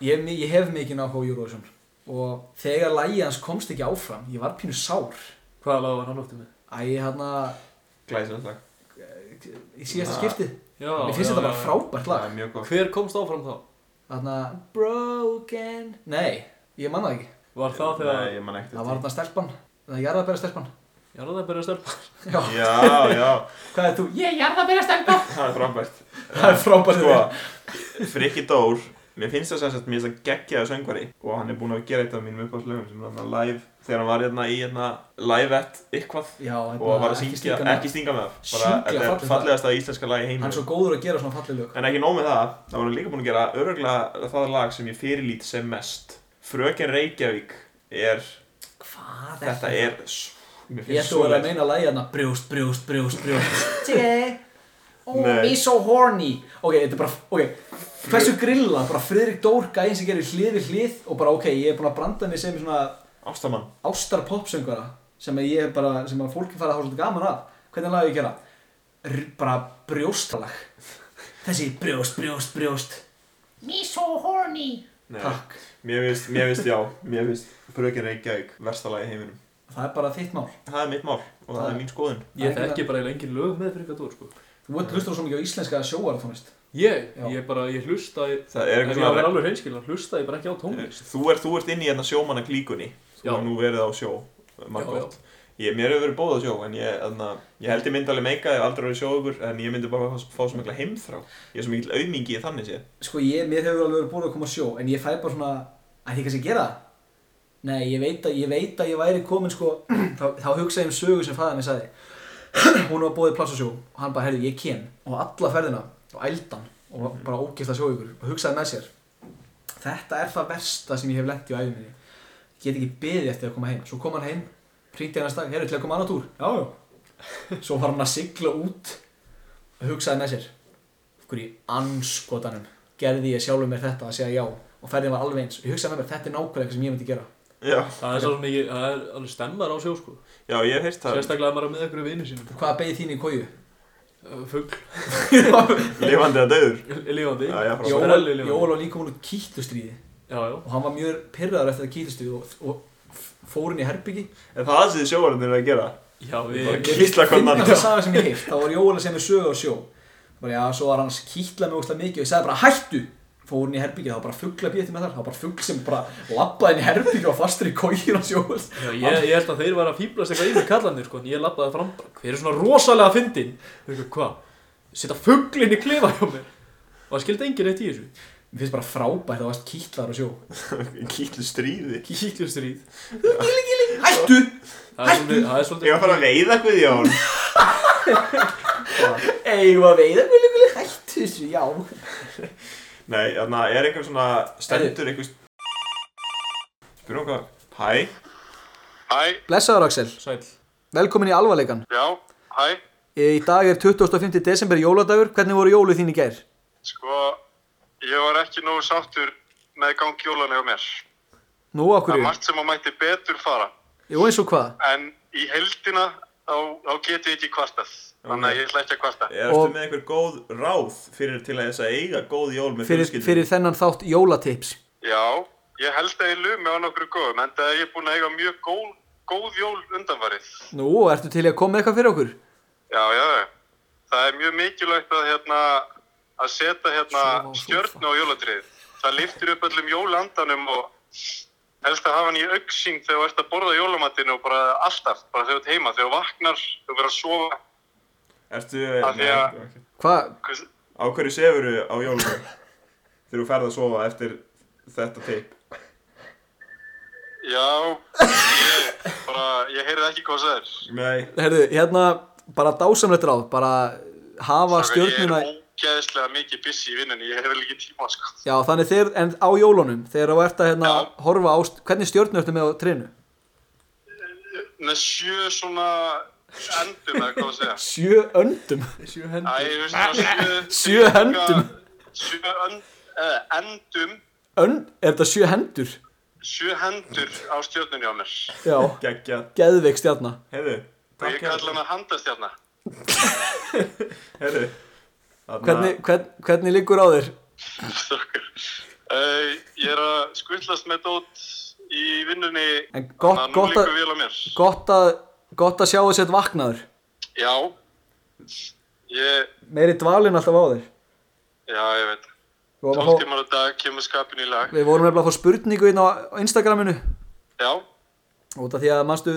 Speaker 2: Ég, hef mi- ég hef mikinn áhuga á Eurovision Og þegar lagið hans komst ekki áfram Ég var pínu sár
Speaker 4: Hvaða lag var hann átti með?
Speaker 2: Æ, hérna,
Speaker 3: glæsilegt lag
Speaker 2: í síðasta
Speaker 3: Ja.
Speaker 2: skiptið
Speaker 4: Já,
Speaker 2: Mér finnst
Speaker 4: já,
Speaker 2: þetta bara
Speaker 4: já, já.
Speaker 2: frábært lag
Speaker 3: er mjög góð
Speaker 4: Hver komst áfram þá?
Speaker 2: Þarna Broken Nei, ég manna það ekki
Speaker 4: Var það
Speaker 3: Nei,
Speaker 4: þegar
Speaker 3: ég man ekkert
Speaker 2: Það var þarna stelpan Það jarðabæra stelpan
Speaker 4: Jarðabæra stelpa?
Speaker 2: Já,
Speaker 3: eftir. já, já,
Speaker 2: hvað er þú? Ég jarðabæra stelpa
Speaker 3: það er frábært
Speaker 2: Það er frábært
Speaker 3: sko, Frikki Dór mér finnst það sem sagt, mér finnst það geggjaðu söngvari og hann er búinn að gera eitt af mínum uppáðslögum sem er hann live, þegar hann var hérna í hérna live at eitthvað
Speaker 2: Já,
Speaker 3: og hann var að syngja, ekki stinga með það bara,
Speaker 2: Sjúklega
Speaker 3: þetta er
Speaker 2: fallegt lag.
Speaker 3: fallegasta íslenska lag í
Speaker 2: Hann
Speaker 3: heiminum
Speaker 2: er svo góður að gera svona fallið lög
Speaker 3: En ekki nóg með það, þá var hann líka búinn að gera öruglega það lag sem ég fyrirlít sem mest Fröken Reykjavík er,
Speaker 6: Hvað er
Speaker 3: þetta er s- mér
Speaker 2: Ég
Speaker 3: finnst
Speaker 2: ætti að vera að
Speaker 3: leiðis.
Speaker 2: meina að lægja hérna Brjóst, brjóst, brjóst, brjóst Today Oh,
Speaker 3: Nei.
Speaker 2: be so horny Ok, þetta er bara, ok Hversu grilla, bara Friðrik Dór gæðin sem gerir hlið við hlið Og bara, ok, ég er búin að branda mig sem svona
Speaker 3: Ástamann,
Speaker 2: ástar popsöngara Sem að ég er bara, sem að fólki fara að hafa svolítið gaman af Hvernig lag á ég að gera? R bara brjóstalag Þessi brjóst, brjóst, brjóst
Speaker 6: Me so horny.
Speaker 3: Nei,
Speaker 2: Takk
Speaker 3: mér finnst, mér finnst, já, mér finnst Fröken Reykjavík versta lag í heiminum
Speaker 2: Það er bara þitt mál
Speaker 3: Það er mitt mál og það er mín skoðun
Speaker 4: Ég þekki bara eiginlega engin lög með Frikka Dór sko
Speaker 2: Þú ert hlustur svo mikið á íslenska sjóartónlist
Speaker 4: Ég,
Speaker 2: Já.
Speaker 4: ég bara, ég hlusta Ef
Speaker 3: Það er
Speaker 4: ég
Speaker 3: eitthvað
Speaker 4: á
Speaker 3: svona
Speaker 4: að vera
Speaker 3: Eh.
Speaker 4: alveg hreinskilan, hlusta ég bara ekki á tónlist
Speaker 3: Þú ert, þú ert inn í hérna sjómanna glíkunni
Speaker 4: Já.
Speaker 3: Þú er nú verið á sjó, margótt Ég, mér hefur verið bóð á sjó, en ég, þannig ég held ég myndi alveg meika, ég hef aldrei verið sjóugur, en ég myndi bara fá, fá svo mikla heimþrá. Ég er svo mikil aumingi í þannig séð.
Speaker 2: Sko ég, mér hefur alveg verið búin að koma að sjó En ég fæ bara svona, ætti ég kannski að gera það? Nei, ég veit að ég, veit að ég væri komin sko þá, þá hugsa ég um sögu sem fæðan mér sagði Hún var bóðið pláss á sjó Og hann bara, herri, ég kem Og alla ferðina, og ældan Og var bara ógisla sjóugur Og hugsaði með sér Þetta er það versta sem ég hef lent í á æfum minni Ég Get ekki beðið eftir að koma heim Svo kom hann heim, prýndi hann að stað Herri, til að koma annað túr Já, já Svo var hann að sigla út Og hugsaði með sér Af hverju í anskotanum gerði ég sjálfur mér þetta að segja já og ferðin var alveg eins og ég hugsaði með mér, þetta er nákvæmlega eitthvað sem ég myndi gera
Speaker 3: Já,
Speaker 4: Það er svo sem ekki, það er alveg stemmar á sjó sko
Speaker 3: já, ég hef heyrt það
Speaker 4: Sérstaklega að maður er með ykkur vinnu sínum
Speaker 2: Hvaða beigð þín í kóju?
Speaker 4: Uh, Fugl,
Speaker 3: Lifandi að döður
Speaker 4: lifandi
Speaker 3: Já, já, frá
Speaker 2: Ég
Speaker 4: Sprelli
Speaker 2: óla- ég
Speaker 4: lifandi.
Speaker 2: óla líka múin úr kýttustríði
Speaker 4: Já, já
Speaker 2: og hann var mjög pyrraður eftir það kýttustríði og, og f- fór inn í herbyggi
Speaker 3: En það aðsýði sjóvarinn er að gera
Speaker 4: Já, við
Speaker 3: Bara Kýtla hvern
Speaker 2: Fyndið að
Speaker 3: annan
Speaker 2: saga sem ég heilt, þá var Jóhanna sem er sögu á sjó bara já, svo var hans kýtlað mig óslega mikið og ég sagði bara hættu fór hún í herbyggið, það var bara fuggla býtti með þar það var bara fuggl sem bara labbaði inn í herbyggið og var fastur í kógin á sjó
Speaker 4: Já, ég, ég held að þeir var að fýblast eitthvað í mig kallanir sko, en ég labbaði fram bara, hver er svona rosalega fyndin? Þeir eru hvað? Sitta fugglinn í klefa hjá mér og það skildi enginn eitt í þessu
Speaker 2: Mér finnst bara frábært að það varst kýtlaður á sjó
Speaker 3: Kýtlu stríði
Speaker 4: Kíklustrýð
Speaker 2: Hættu!
Speaker 4: Það er svolítið, það er
Speaker 3: Ég var að
Speaker 4: svolítið
Speaker 3: fara að veiða Guðjón
Speaker 2: Eigum að veiða gulli gulli hættu þessu, já
Speaker 3: Nei, þarna er einhver svona Stendur einhver Spyrum hvað Hæ
Speaker 5: Hæ,
Speaker 2: Blessaður Axel,
Speaker 4: Sæl
Speaker 2: velkomin í alvarleikan
Speaker 5: já, hæ,
Speaker 2: Í dag er 25. desember jóladagur, hvernig voru jólu þín í gær?
Speaker 5: sko, ég var ekki nógu sáttur með gang jólana hjá mér.
Speaker 2: Nú,
Speaker 5: Það
Speaker 2: okkur
Speaker 5: er margt sem að mætti betur fara,
Speaker 2: Jú, eins og hvað?
Speaker 5: en í heldina þá, þá get ég ekki kvartað. Þannig að ég ætla ekki að kvarta.
Speaker 3: Ertu með einhver góð ráð fyrir til að þess að eiga góð jól með fjölskyldum?
Speaker 2: þennan þátt jólatips
Speaker 5: Já, ég held að ég lumi á nokkru góðum, en það er ég búin að eiga mjög góð, góð jól undanvarið.
Speaker 2: Nú, ertu til í að koma með eitthvað fyrir okkur?
Speaker 5: Já, já, já. það er mjög mikilvægt að, hérna, að setja hérna, stjörnu á jólatrið. Það liftir upp öllum jólandanum og helst að hafa hann í auksing þegar þú ert að borða jólamatinu og bara alltaf, bara þegar þú ert heima, þegar þú vaknar, þú verður að sofa.
Speaker 3: Ertu,
Speaker 5: Af því
Speaker 3: nei,
Speaker 5: að-
Speaker 3: ok.
Speaker 2: Hvað,
Speaker 5: Hvers-
Speaker 3: á hverju sefuru á jólum þegar þú ferð að sofa eftir þetta teip?
Speaker 5: Já, ég, bara, ég heyrði ekki hvað það er.
Speaker 3: Nei,
Speaker 2: herðu, hérna bara dásamlegt ráð, bara hafa stjörnuna
Speaker 5: Ég er ógeðslega mikið busy í vinnunni, ég hef vel ekki tíma, sko.
Speaker 2: Já, þannig þeir, en á jólunum þegar þú ert að hérna
Speaker 5: Já.
Speaker 2: horfa á st- hvernig stjörnu ertu með á trinu?
Speaker 5: Nei, sjö svona endum, eða hvað það segja.
Speaker 2: Sjö öndum
Speaker 4: Sjö hendur
Speaker 5: Æ, þú veist, svona
Speaker 2: Sjö höndum.
Speaker 5: Sjö önd, uh, endum
Speaker 2: Önd, er þetta sjö hendur?
Speaker 5: Sjö hendur á stjórnunni á mér
Speaker 2: Já,
Speaker 3: geggja,
Speaker 2: geðveik stjarna
Speaker 3: heyrðu,
Speaker 5: Og ég
Speaker 3: takk
Speaker 5: kalla hana handastjarna
Speaker 3: heyrðu. Þarna,
Speaker 2: Hvernig, hvern, hvernig liggur á þér?
Speaker 5: uh, Ég er að skvillast með dót í vinnunni
Speaker 2: En gott-
Speaker 5: þannig að
Speaker 2: gott
Speaker 5: Nú
Speaker 2: að-
Speaker 5: líka vel á mér
Speaker 2: Gott að, gott að sjá þess að vaknaður
Speaker 5: Já Ég,
Speaker 2: Meiri dvalin alltaf á þér
Speaker 5: já ég veit
Speaker 2: Við vorum að
Speaker 5: 12
Speaker 2: fá-
Speaker 5: tímar á dag kemur skapin í lag
Speaker 2: Við vorum nefnilega að fá spurningu inn á á Instagraminu
Speaker 5: Já,
Speaker 2: út af því að mannstu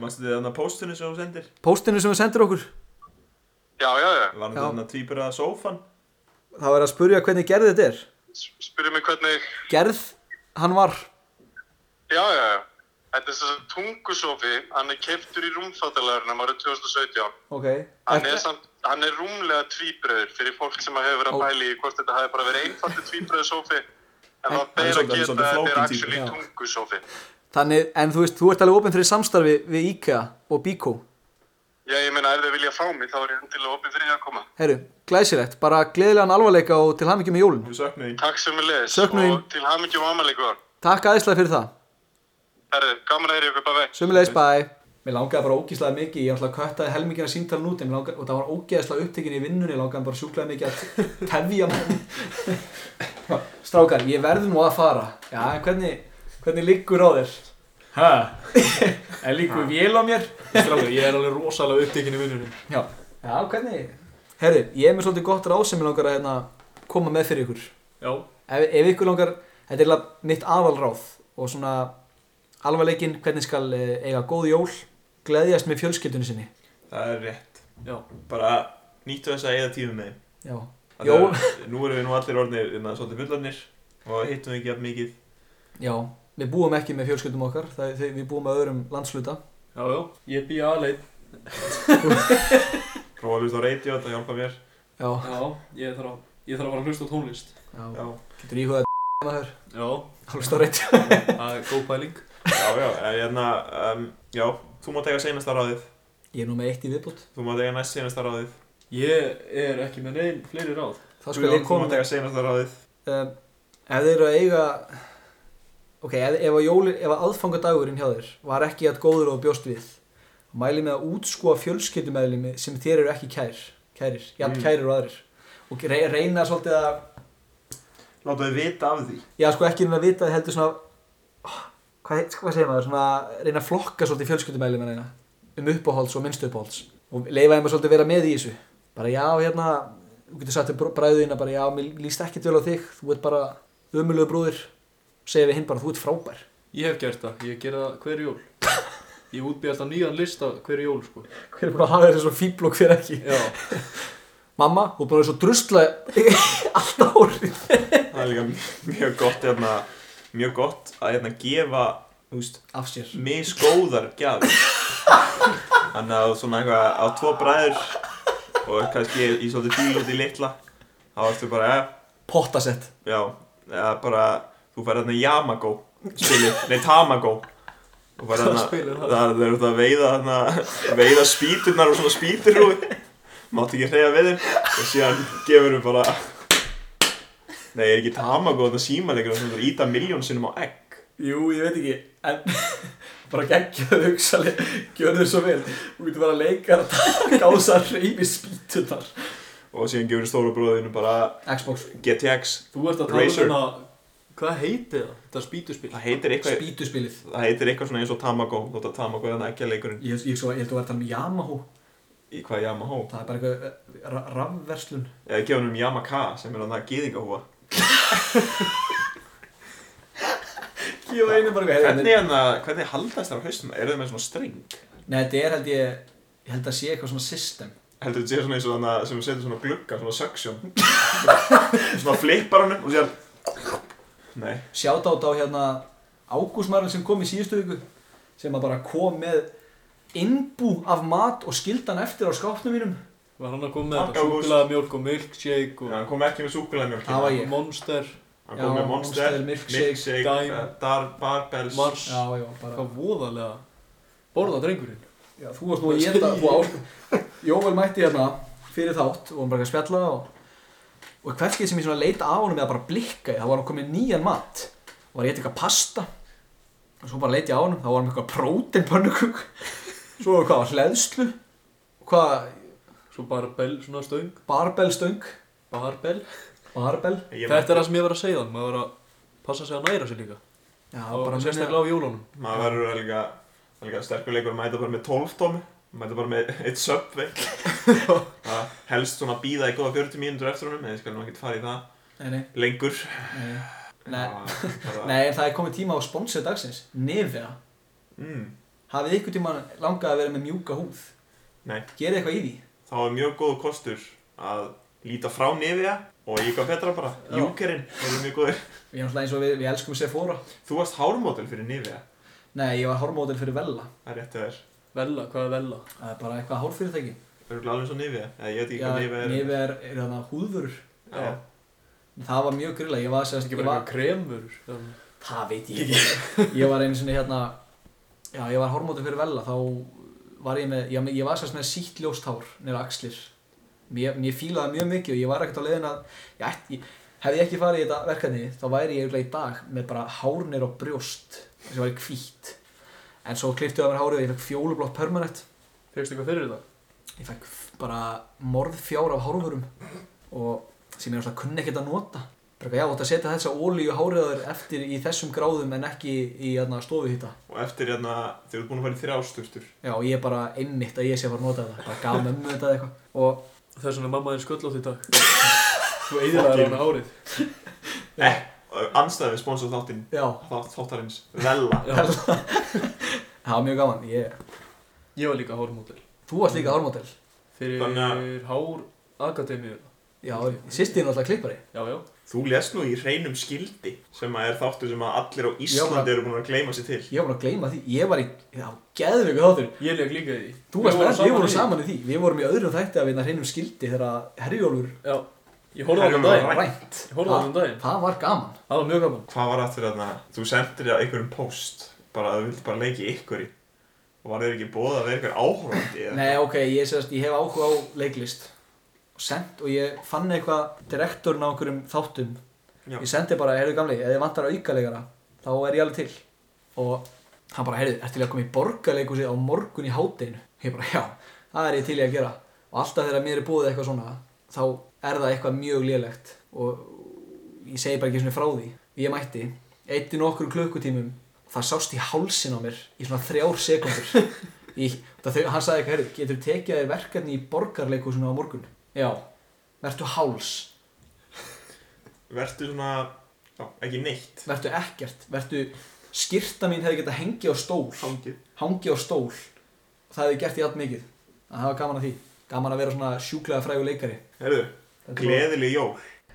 Speaker 3: Manstu þið þarna póstinu sem þú sendir?
Speaker 2: póstinu sem þú sendir okkur
Speaker 5: já, já, já
Speaker 3: Var hann
Speaker 2: Já.
Speaker 3: þarna tvíburaða sófan?
Speaker 2: Það var að spurja hvernig gerð þetta er
Speaker 5: Spyrir mig hvernig
Speaker 2: Gerð, hann var
Speaker 5: Já, já, já Þetta er þess að tungusofi, hann er keiptur í rúmfattalærinum árið 2017
Speaker 2: Ok
Speaker 5: Hann er, samt, hann er rúmlega tvíbröður fyrir fólk sem hefur verið að pæli í hvort þetta hafi bara verið einfaldur tvíbröðsófi en það
Speaker 3: Hann er
Speaker 5: ber að
Speaker 3: svolítið-
Speaker 5: geta að
Speaker 3: svolítið
Speaker 5: þetta er
Speaker 3: flókin
Speaker 5: actually
Speaker 3: tvíburi,
Speaker 2: já.
Speaker 5: tungusófi
Speaker 2: Þannig, en þú veist, þú ert alveg opinn fyrir samstarfi við IKEA og Biko
Speaker 5: Já, ég meina, ef þau vilja fá mig þá er ég endilega opið fyrir því að koma
Speaker 2: Herru, glæsilegt, bara gleðilegan alvarleika og til hamingju með jólun
Speaker 3: Þú söknuði þín.
Speaker 5: Takk sem við leðis
Speaker 2: Söknum þín.
Speaker 5: og til hamingjum ámælíkuðan
Speaker 2: Takk aðeinslega fyrir það,
Speaker 5: Herðu, gaman að heyra ykkur bara vekk
Speaker 2: sömulegis, bye
Speaker 1: Mér langaði bara ógeðslega mikið, ég ætlaði að köttaði helmingina síntalinn út en mig langaði, og það var ógeðslega upptekinn í vinnunni, langaði bara sjúklaði mikið að tefja mann. Strákar, ég verði nú að fara. Já, en hvernig, hvernig liggur á þér?
Speaker 4: Hæ?
Speaker 1: Er líkur vél á mér?
Speaker 4: Strákar, ég er alveg rosalega upptekinn í vinnunni
Speaker 1: Já. Já, hvernig?
Speaker 2: Herru, ég er með svolítið gott ráð sem ég langar að hérna, koma með fyrir ykkur
Speaker 4: Já,
Speaker 2: ef, ef ykkur langar, þetta er eiginlega mitt aðalráð og svona alvarleikin, hvernig skal eh, eiga góð jól gleðjast með fjölskyldunni sinni
Speaker 3: Það er rétt.
Speaker 4: já,
Speaker 3: Bara nýttu þess að eigða tíma með þeim.
Speaker 2: Já,
Speaker 3: Af því
Speaker 2: jól,
Speaker 3: að Nú erum við nú allir orðnir innan svolítið fullanir og hittum ekki jafn mikið.
Speaker 2: já Við búum ekki með fjölskyldum okkar, það, þau, við búum með öðrum landsluta
Speaker 4: já, já Ég býja aðleit
Speaker 3: Prófa að hlusta á radio, þetta hjálpa mér.
Speaker 2: Já,
Speaker 4: Já, ég þarf að, ég þarf að fara að hlusta á tónlist
Speaker 2: já,
Speaker 3: Já.
Speaker 2: getur íhugað að maður,
Speaker 4: Já,
Speaker 2: hálfst á reitt
Speaker 4: það er góð pæling
Speaker 3: Já, já, en hérna, um, já, þú mátt eiga seinasta ráðið,
Speaker 2: Ég er nú með eitt í viðbútt
Speaker 3: þú mátt eiga næst seinasta ráðið,
Speaker 4: Ég er ekki með neinn fleiri ráð
Speaker 2: Þá skal
Speaker 3: Guðjón,
Speaker 2: ég
Speaker 3: þú mátt
Speaker 2: koma
Speaker 3: eiga seinasta ráðið,
Speaker 2: um, ef þeir eru að eiga ok, ef, ef, að jóli, ef að aðfangadagurinn hjá þér var ekki að góður og þú bjóst við mæli með að útskúa fjölskyldumeðlimi sem þér eru ekki kær kærir, jafn kærir og aðrir og re- reyna svolítið að
Speaker 3: Láta þið vita af því.
Speaker 2: já, sko ekki reyna að vita heldur svona ah, hvað, heit- hvað segir maður, svona reyna að flokka svolítið fjölskyldumeðlimi um uppáhalds og minnst uppáhalds og leifa þeim að svolítið vera með í þessu bara já, hérna, þú getur sagt til bræðina bara já, mér líst ekki til á þig þú ert bara ömulegu brúðir segja við hinn bara, þú ert frábær
Speaker 4: Ég hef gert það, ég ger það hverju jól Ég útbýð alltaf nýjan lista hverju jól sko
Speaker 2: hver er búin að hafa þér svo fíbl og hver ekki
Speaker 4: Já,
Speaker 2: mamma, þú er búin að vera svo drusla alltaf árið
Speaker 3: Það er líka mjög gott, hérna, mjög gott að hérna gefa, þú veist,
Speaker 2: af sér
Speaker 3: misgóðar gjafir. Þannig að svona eitthvað á tvo bræður og kannski í svolítið bíl út í litla, þá ertu bara, eh,
Speaker 2: pottasett
Speaker 3: já, eða bara, þú færði hérna Yamago, spilið, nei Tamago. Þú færði
Speaker 4: Hvað
Speaker 3: hérna,
Speaker 4: spilir það?
Speaker 3: það er þetta að veiða hérna, veiða spýturnar og svona spýtur og máttu ekki hreyja við þeim og síðan gefur við bara, nei, er ekki Tamago þetta símaleikur og svona íta miljón sinnum á egg.
Speaker 2: jú, ég veit ekki, en bara geggjaðu hugsaði, gjörðu svo vel þú getur bara að leika að gása reymi spýtunar
Speaker 3: og síðan gefur stóra bróðinu bara
Speaker 2: Xbox,
Speaker 3: GTX
Speaker 4: þú ert að tala um
Speaker 3: Razer.
Speaker 4: hérna Hvað heiti það? Þetta spýtuspil
Speaker 3: það heitir eitthvað,
Speaker 2: spýtuspilið
Speaker 3: það heitir eitthvað svona eins og Tamago þótt að Tamago er þannig ekki að leikurinn
Speaker 2: ég, ég, ég, svo, ég held að vera að tala um Yamaha
Speaker 3: í hvað Yamaha
Speaker 2: það er bara eitthvað eh, ra rafverslun
Speaker 3: eða gefa hann um Yamaka sem er þannig að gýðingahúa
Speaker 2: ég var einu bara eitthvað
Speaker 3: hvernig, hérna, hvernig haldast það á haustum eru þau með svona streng
Speaker 2: nei, þetta er held ég ég held að sé eitthvað svona system
Speaker 3: heldur þetta sé svona eins og þannig að sem við setjum svona glugga svona suction svona flippar hann um og síðan nei
Speaker 2: sjáta á hérna ágústmarinn sem kom í síðustu viku sem að bara kom með innbú af mat og skildan eftir á skápnum mínum
Speaker 4: Var hann að koma með þetta?
Speaker 3: Ágúst.
Speaker 4: Súkulega mjólk og milkshake
Speaker 3: Já,
Speaker 4: og
Speaker 3: hann kom ekki með súkulæmjólk
Speaker 2: Það var
Speaker 3: hann
Speaker 2: ég.
Speaker 4: monster,
Speaker 3: kom
Speaker 2: Já,
Speaker 3: með monster,
Speaker 2: Monster, milkshake,
Speaker 3: milkshake, milkshake
Speaker 4: Dime.
Speaker 3: eh, dar, barbells
Speaker 4: mars
Speaker 2: já, já, bara
Speaker 4: Hvað voðalega Borða drengurinn
Speaker 2: já, þú varst nú að geta þú á Jóvel mætti hérna fyrir þátt og hann bara að spjalla og, og hvert skil sem ég svona leita á honum eða bara blikka í, þá var hann komið nýjan mat og var ég eitthvað pasta og svo bara leita ég á honum, þá var hann með eitthvað prótein pönnukuk svo var hvað, hleðslu hvað,
Speaker 4: Svo barbell, svona stöng
Speaker 2: barbellstöng
Speaker 4: Barbell
Speaker 2: barbell
Speaker 3: Ég
Speaker 4: Þetta er það sem ég var að segja þann Maður var að passa sig að næra sig líka
Speaker 2: já,
Speaker 4: Og
Speaker 2: bara minna-
Speaker 4: sérstaklega á jólunum
Speaker 3: maður verður að líka, að líka sterkur leikur að mæta bara með 12 tómi mæta bara með eitt subway Það helst svona býða í góða 40 mínútur eftir honum en ég skal nú ekkert fara í það
Speaker 2: Nei, nei,
Speaker 3: lengur
Speaker 2: nei. Nei.
Speaker 3: Það- það-
Speaker 2: Nei, en það er komið tíma á sponsor dagsins Nivea
Speaker 3: mm,
Speaker 2: Hafið ykkur tíma langað að vera með mjúka húð?
Speaker 3: Nei.
Speaker 2: Gerið eitthvað í því?
Speaker 3: þá er mjög góð kostur að líta frá nefja og ég hvað betra bara
Speaker 2: Já.
Speaker 3: júkerinn það er mjög góður
Speaker 2: Við erum alltaf eins og við, við elskum Sephora
Speaker 3: þú varst hármótel fyrir nefja
Speaker 2: Nei, ég var hármódel fyrir Vella
Speaker 3: það er rétt að þér
Speaker 4: Vella, hvað er vella?
Speaker 2: Það er bara eitthvað hárfyrirtæki
Speaker 3: Örgulega alveg svo nefja, eða ég veit ekki
Speaker 2: Já,
Speaker 3: hvað nefja er
Speaker 2: Nivea er, er þarna húðvörur
Speaker 3: Já.
Speaker 2: Það var mjög grilla, ég var sérst
Speaker 4: Ekki
Speaker 2: ég
Speaker 4: bara
Speaker 2: var,
Speaker 4: eitthvað kremur um,
Speaker 2: Það veit ég ekki Ég var einu sinni hérna Já, ég var hármódel fyrir Vella Þá var ég með, ég, ég var sérst með sítt ljóst hár Nýra axlir Mér, mér fílaði það mjög mikið og ég var ekkert á leiðin að ég, ætti- ég, Hefði ég ekki farið í þetta verkefni Þá væri ég örugglega í dag með bara hárnir og brjóst sem væri hvít En svo kliftuði að mér hárið og ég fekk fjólublátt permanent
Speaker 4: Fegstu eitthvað fyrir það?
Speaker 2: ég fekk f- bara morð fjár af hárfurum og sem ég náttúrulega kunni ekkert að nota bara eitthvað, já, þú ætti að setja þessa ólíu háriðar eftir í þessum gráðum en ekki í hérna, stofuhýta
Speaker 3: og eftir hérna, þeir eru búin að fara í þrjásturtur
Speaker 2: já, og ég er bara einmitt að ég sé að fara að nota þetta bara gaf mömmu þetta eða eitthvað og
Speaker 4: Þess vegna er mamma þín sköll á því í dag Þú eiðilaði hana hárið
Speaker 3: anstæðið Eh, við sponsor þáttinn
Speaker 2: já,
Speaker 3: þátt- þáttarins, Vella
Speaker 4: Já,
Speaker 2: það var mjög gaman ég...
Speaker 4: ég var líka hármótel
Speaker 2: þú varst líka hármótel
Speaker 4: Fyrir
Speaker 3: Þannig
Speaker 4: hár akademíuna
Speaker 2: já, sýstin var alltaf klippari
Speaker 4: Já, já
Speaker 3: Þú lest nú í hreinum skildi sem að er þáttur sem að allir á Íslandi eru búin að gleyma sér til
Speaker 2: ég var bara að gleyma því, ég var í já, geðveiku þáttur
Speaker 4: Ég leik líka í því
Speaker 2: Þú varst
Speaker 4: Við
Speaker 2: með, við vorum
Speaker 4: í-
Speaker 2: saman í því, við vorum í öðrum þætti að vinna hreinum skildi þegar að Herjólfur
Speaker 4: Já, ég horfði á
Speaker 3: Herjólfur
Speaker 4: hann daginn
Speaker 3: var
Speaker 2: rænt.
Speaker 4: Ég horfði á hann um daginn.
Speaker 2: Það var gaman.
Speaker 4: Það var mjög gaman
Speaker 3: Hvað var aftur þarna? Þú sendir þér einhverjum post bara að þú vilt bara leiki ykkur í og var þér ekki bóðið að vera ykkur áhorfandi eða?
Speaker 2: Nei, ok, ég, sérst, ég hef áhuga á leiklist og sent og ég fann eitthvað direktorn á einhverjum þáttum
Speaker 3: Já.
Speaker 2: ég sendi bara, heyrðu gamli, ef þið vantar aukalegara þá er ég alveg til og hann bara, heyrðu, ertu til að koma í borgarleikusið á morgun í hátinu ég bara, já, það er ég til í að gera og alltaf þegar mér er búið eitthvað svona þá er það eitthvað mjög lélegt og ég segi bara ekki svona frá því ég mætti, eitt í nokkur klukkutímum það sást í hálsin á mér í svona þrjár sekundur ég, það, þau, hann sagði eitthvað, heyrðu, getur tekið þér verkefni í borgarleikusinu á morgun já, vertu háls
Speaker 3: Vertu svona, já, ekki neitt
Speaker 2: vertu ekkert, vertu skýrta mín hefði getað hengið á stól
Speaker 3: Hangið
Speaker 2: hangið á stól það hefði gert ég allt mikið en það var gaman að því, gaman að vera svona sjúklega frægu leikari
Speaker 3: Herðu,
Speaker 2: Þetta var-
Speaker 3: gleðileg jól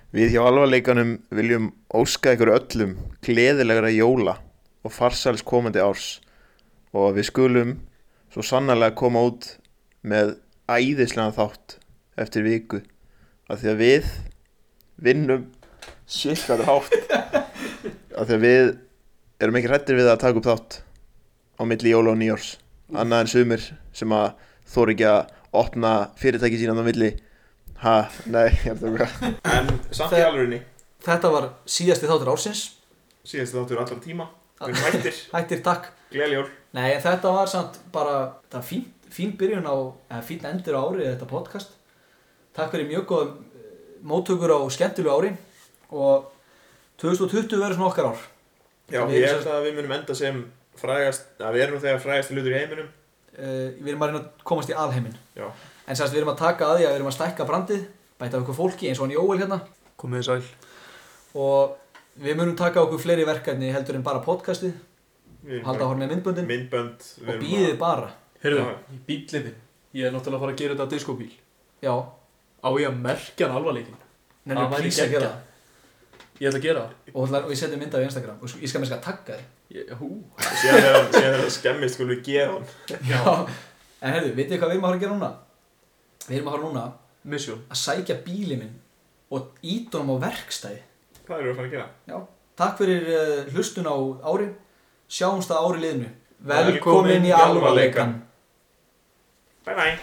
Speaker 7: Við hjá alvarleikanum viljum óska ykkur öllum gleðilegra jóla og farsæls komandi árs og við skulum svo sannarlega koma út með æðislega þátt eftir viku af því að við vinnum shit hvað þetta er hátt af því að við erum ekki hrættir við að taka upp þátt á milli jóla og nýjórs annað en sumir sem að þóri ekki að opna fyrirtæki sína á milli ha, nei, ég er það okkar
Speaker 3: En samt í
Speaker 2: Þegar-
Speaker 3: alvörinni,
Speaker 2: þetta var síðasti þáttur ársins
Speaker 3: síðast þáttur allar tíma Við mættir,
Speaker 2: hættir takk
Speaker 3: gleðileg jól
Speaker 2: Nei, en þetta var samt bara þetta var fín, fín byrjun á, eða fín endur á árið þetta podcast. Takk fyrir mjög góð móttökur á skemmtilegu ári og 2020 verður svona okkar ár.
Speaker 3: Já,
Speaker 2: Við
Speaker 3: ég
Speaker 2: erum
Speaker 3: held að við munum enda sem frægast, að við erum nú þegar frægast hlutur í heiminum
Speaker 2: Uh, við erum að reyna að komast í alheiminn.
Speaker 3: Já,
Speaker 2: En sérst, við erum að taka að því að við erum að stækka brandið, bæta okkur fólki eins og hann Jóel hérna
Speaker 4: Komið þið sæl.
Speaker 2: og við munum taka okkur fleiri verkefni heldur en bara podcastið,
Speaker 3: við erum
Speaker 2: halda
Speaker 3: bara-
Speaker 2: horn með myndböndin
Speaker 3: myndbönd við
Speaker 2: og
Speaker 3: erum
Speaker 2: býðið
Speaker 3: að-
Speaker 2: bara.
Speaker 4: Heyrðu,
Speaker 3: Já.
Speaker 4: bíllinn minn. Ég er náttúrulega að fara að gera þetta að diskobíl.
Speaker 2: Já,
Speaker 4: Á ég að merkja hann alvarleikin.
Speaker 2: nefnum
Speaker 4: væri
Speaker 2: plís að hérna. gera
Speaker 4: geggjað.
Speaker 2: það.
Speaker 4: Ég ætla að gera það.
Speaker 2: Og, ætlar- og ég setja mynda á Instagram og ég skal með skal tagga þig.
Speaker 4: Ég, hú.
Speaker 3: síðan þegar hann- síðan þegar það skemmist skulum við gera hann
Speaker 2: Já, en heyrðu, veitu hvað við erum að fara að gera núna? Við erum að fara núna
Speaker 4: Mission.
Speaker 2: að sækja bíli minn og íta honum á verkstæði.
Speaker 3: Það erum við að fara að gera
Speaker 2: Já. Takk fyrir uh, hlustun á ári. Sjáumst að ári liðinu.
Speaker 3: Velkomin í alvarleikann. Bye bye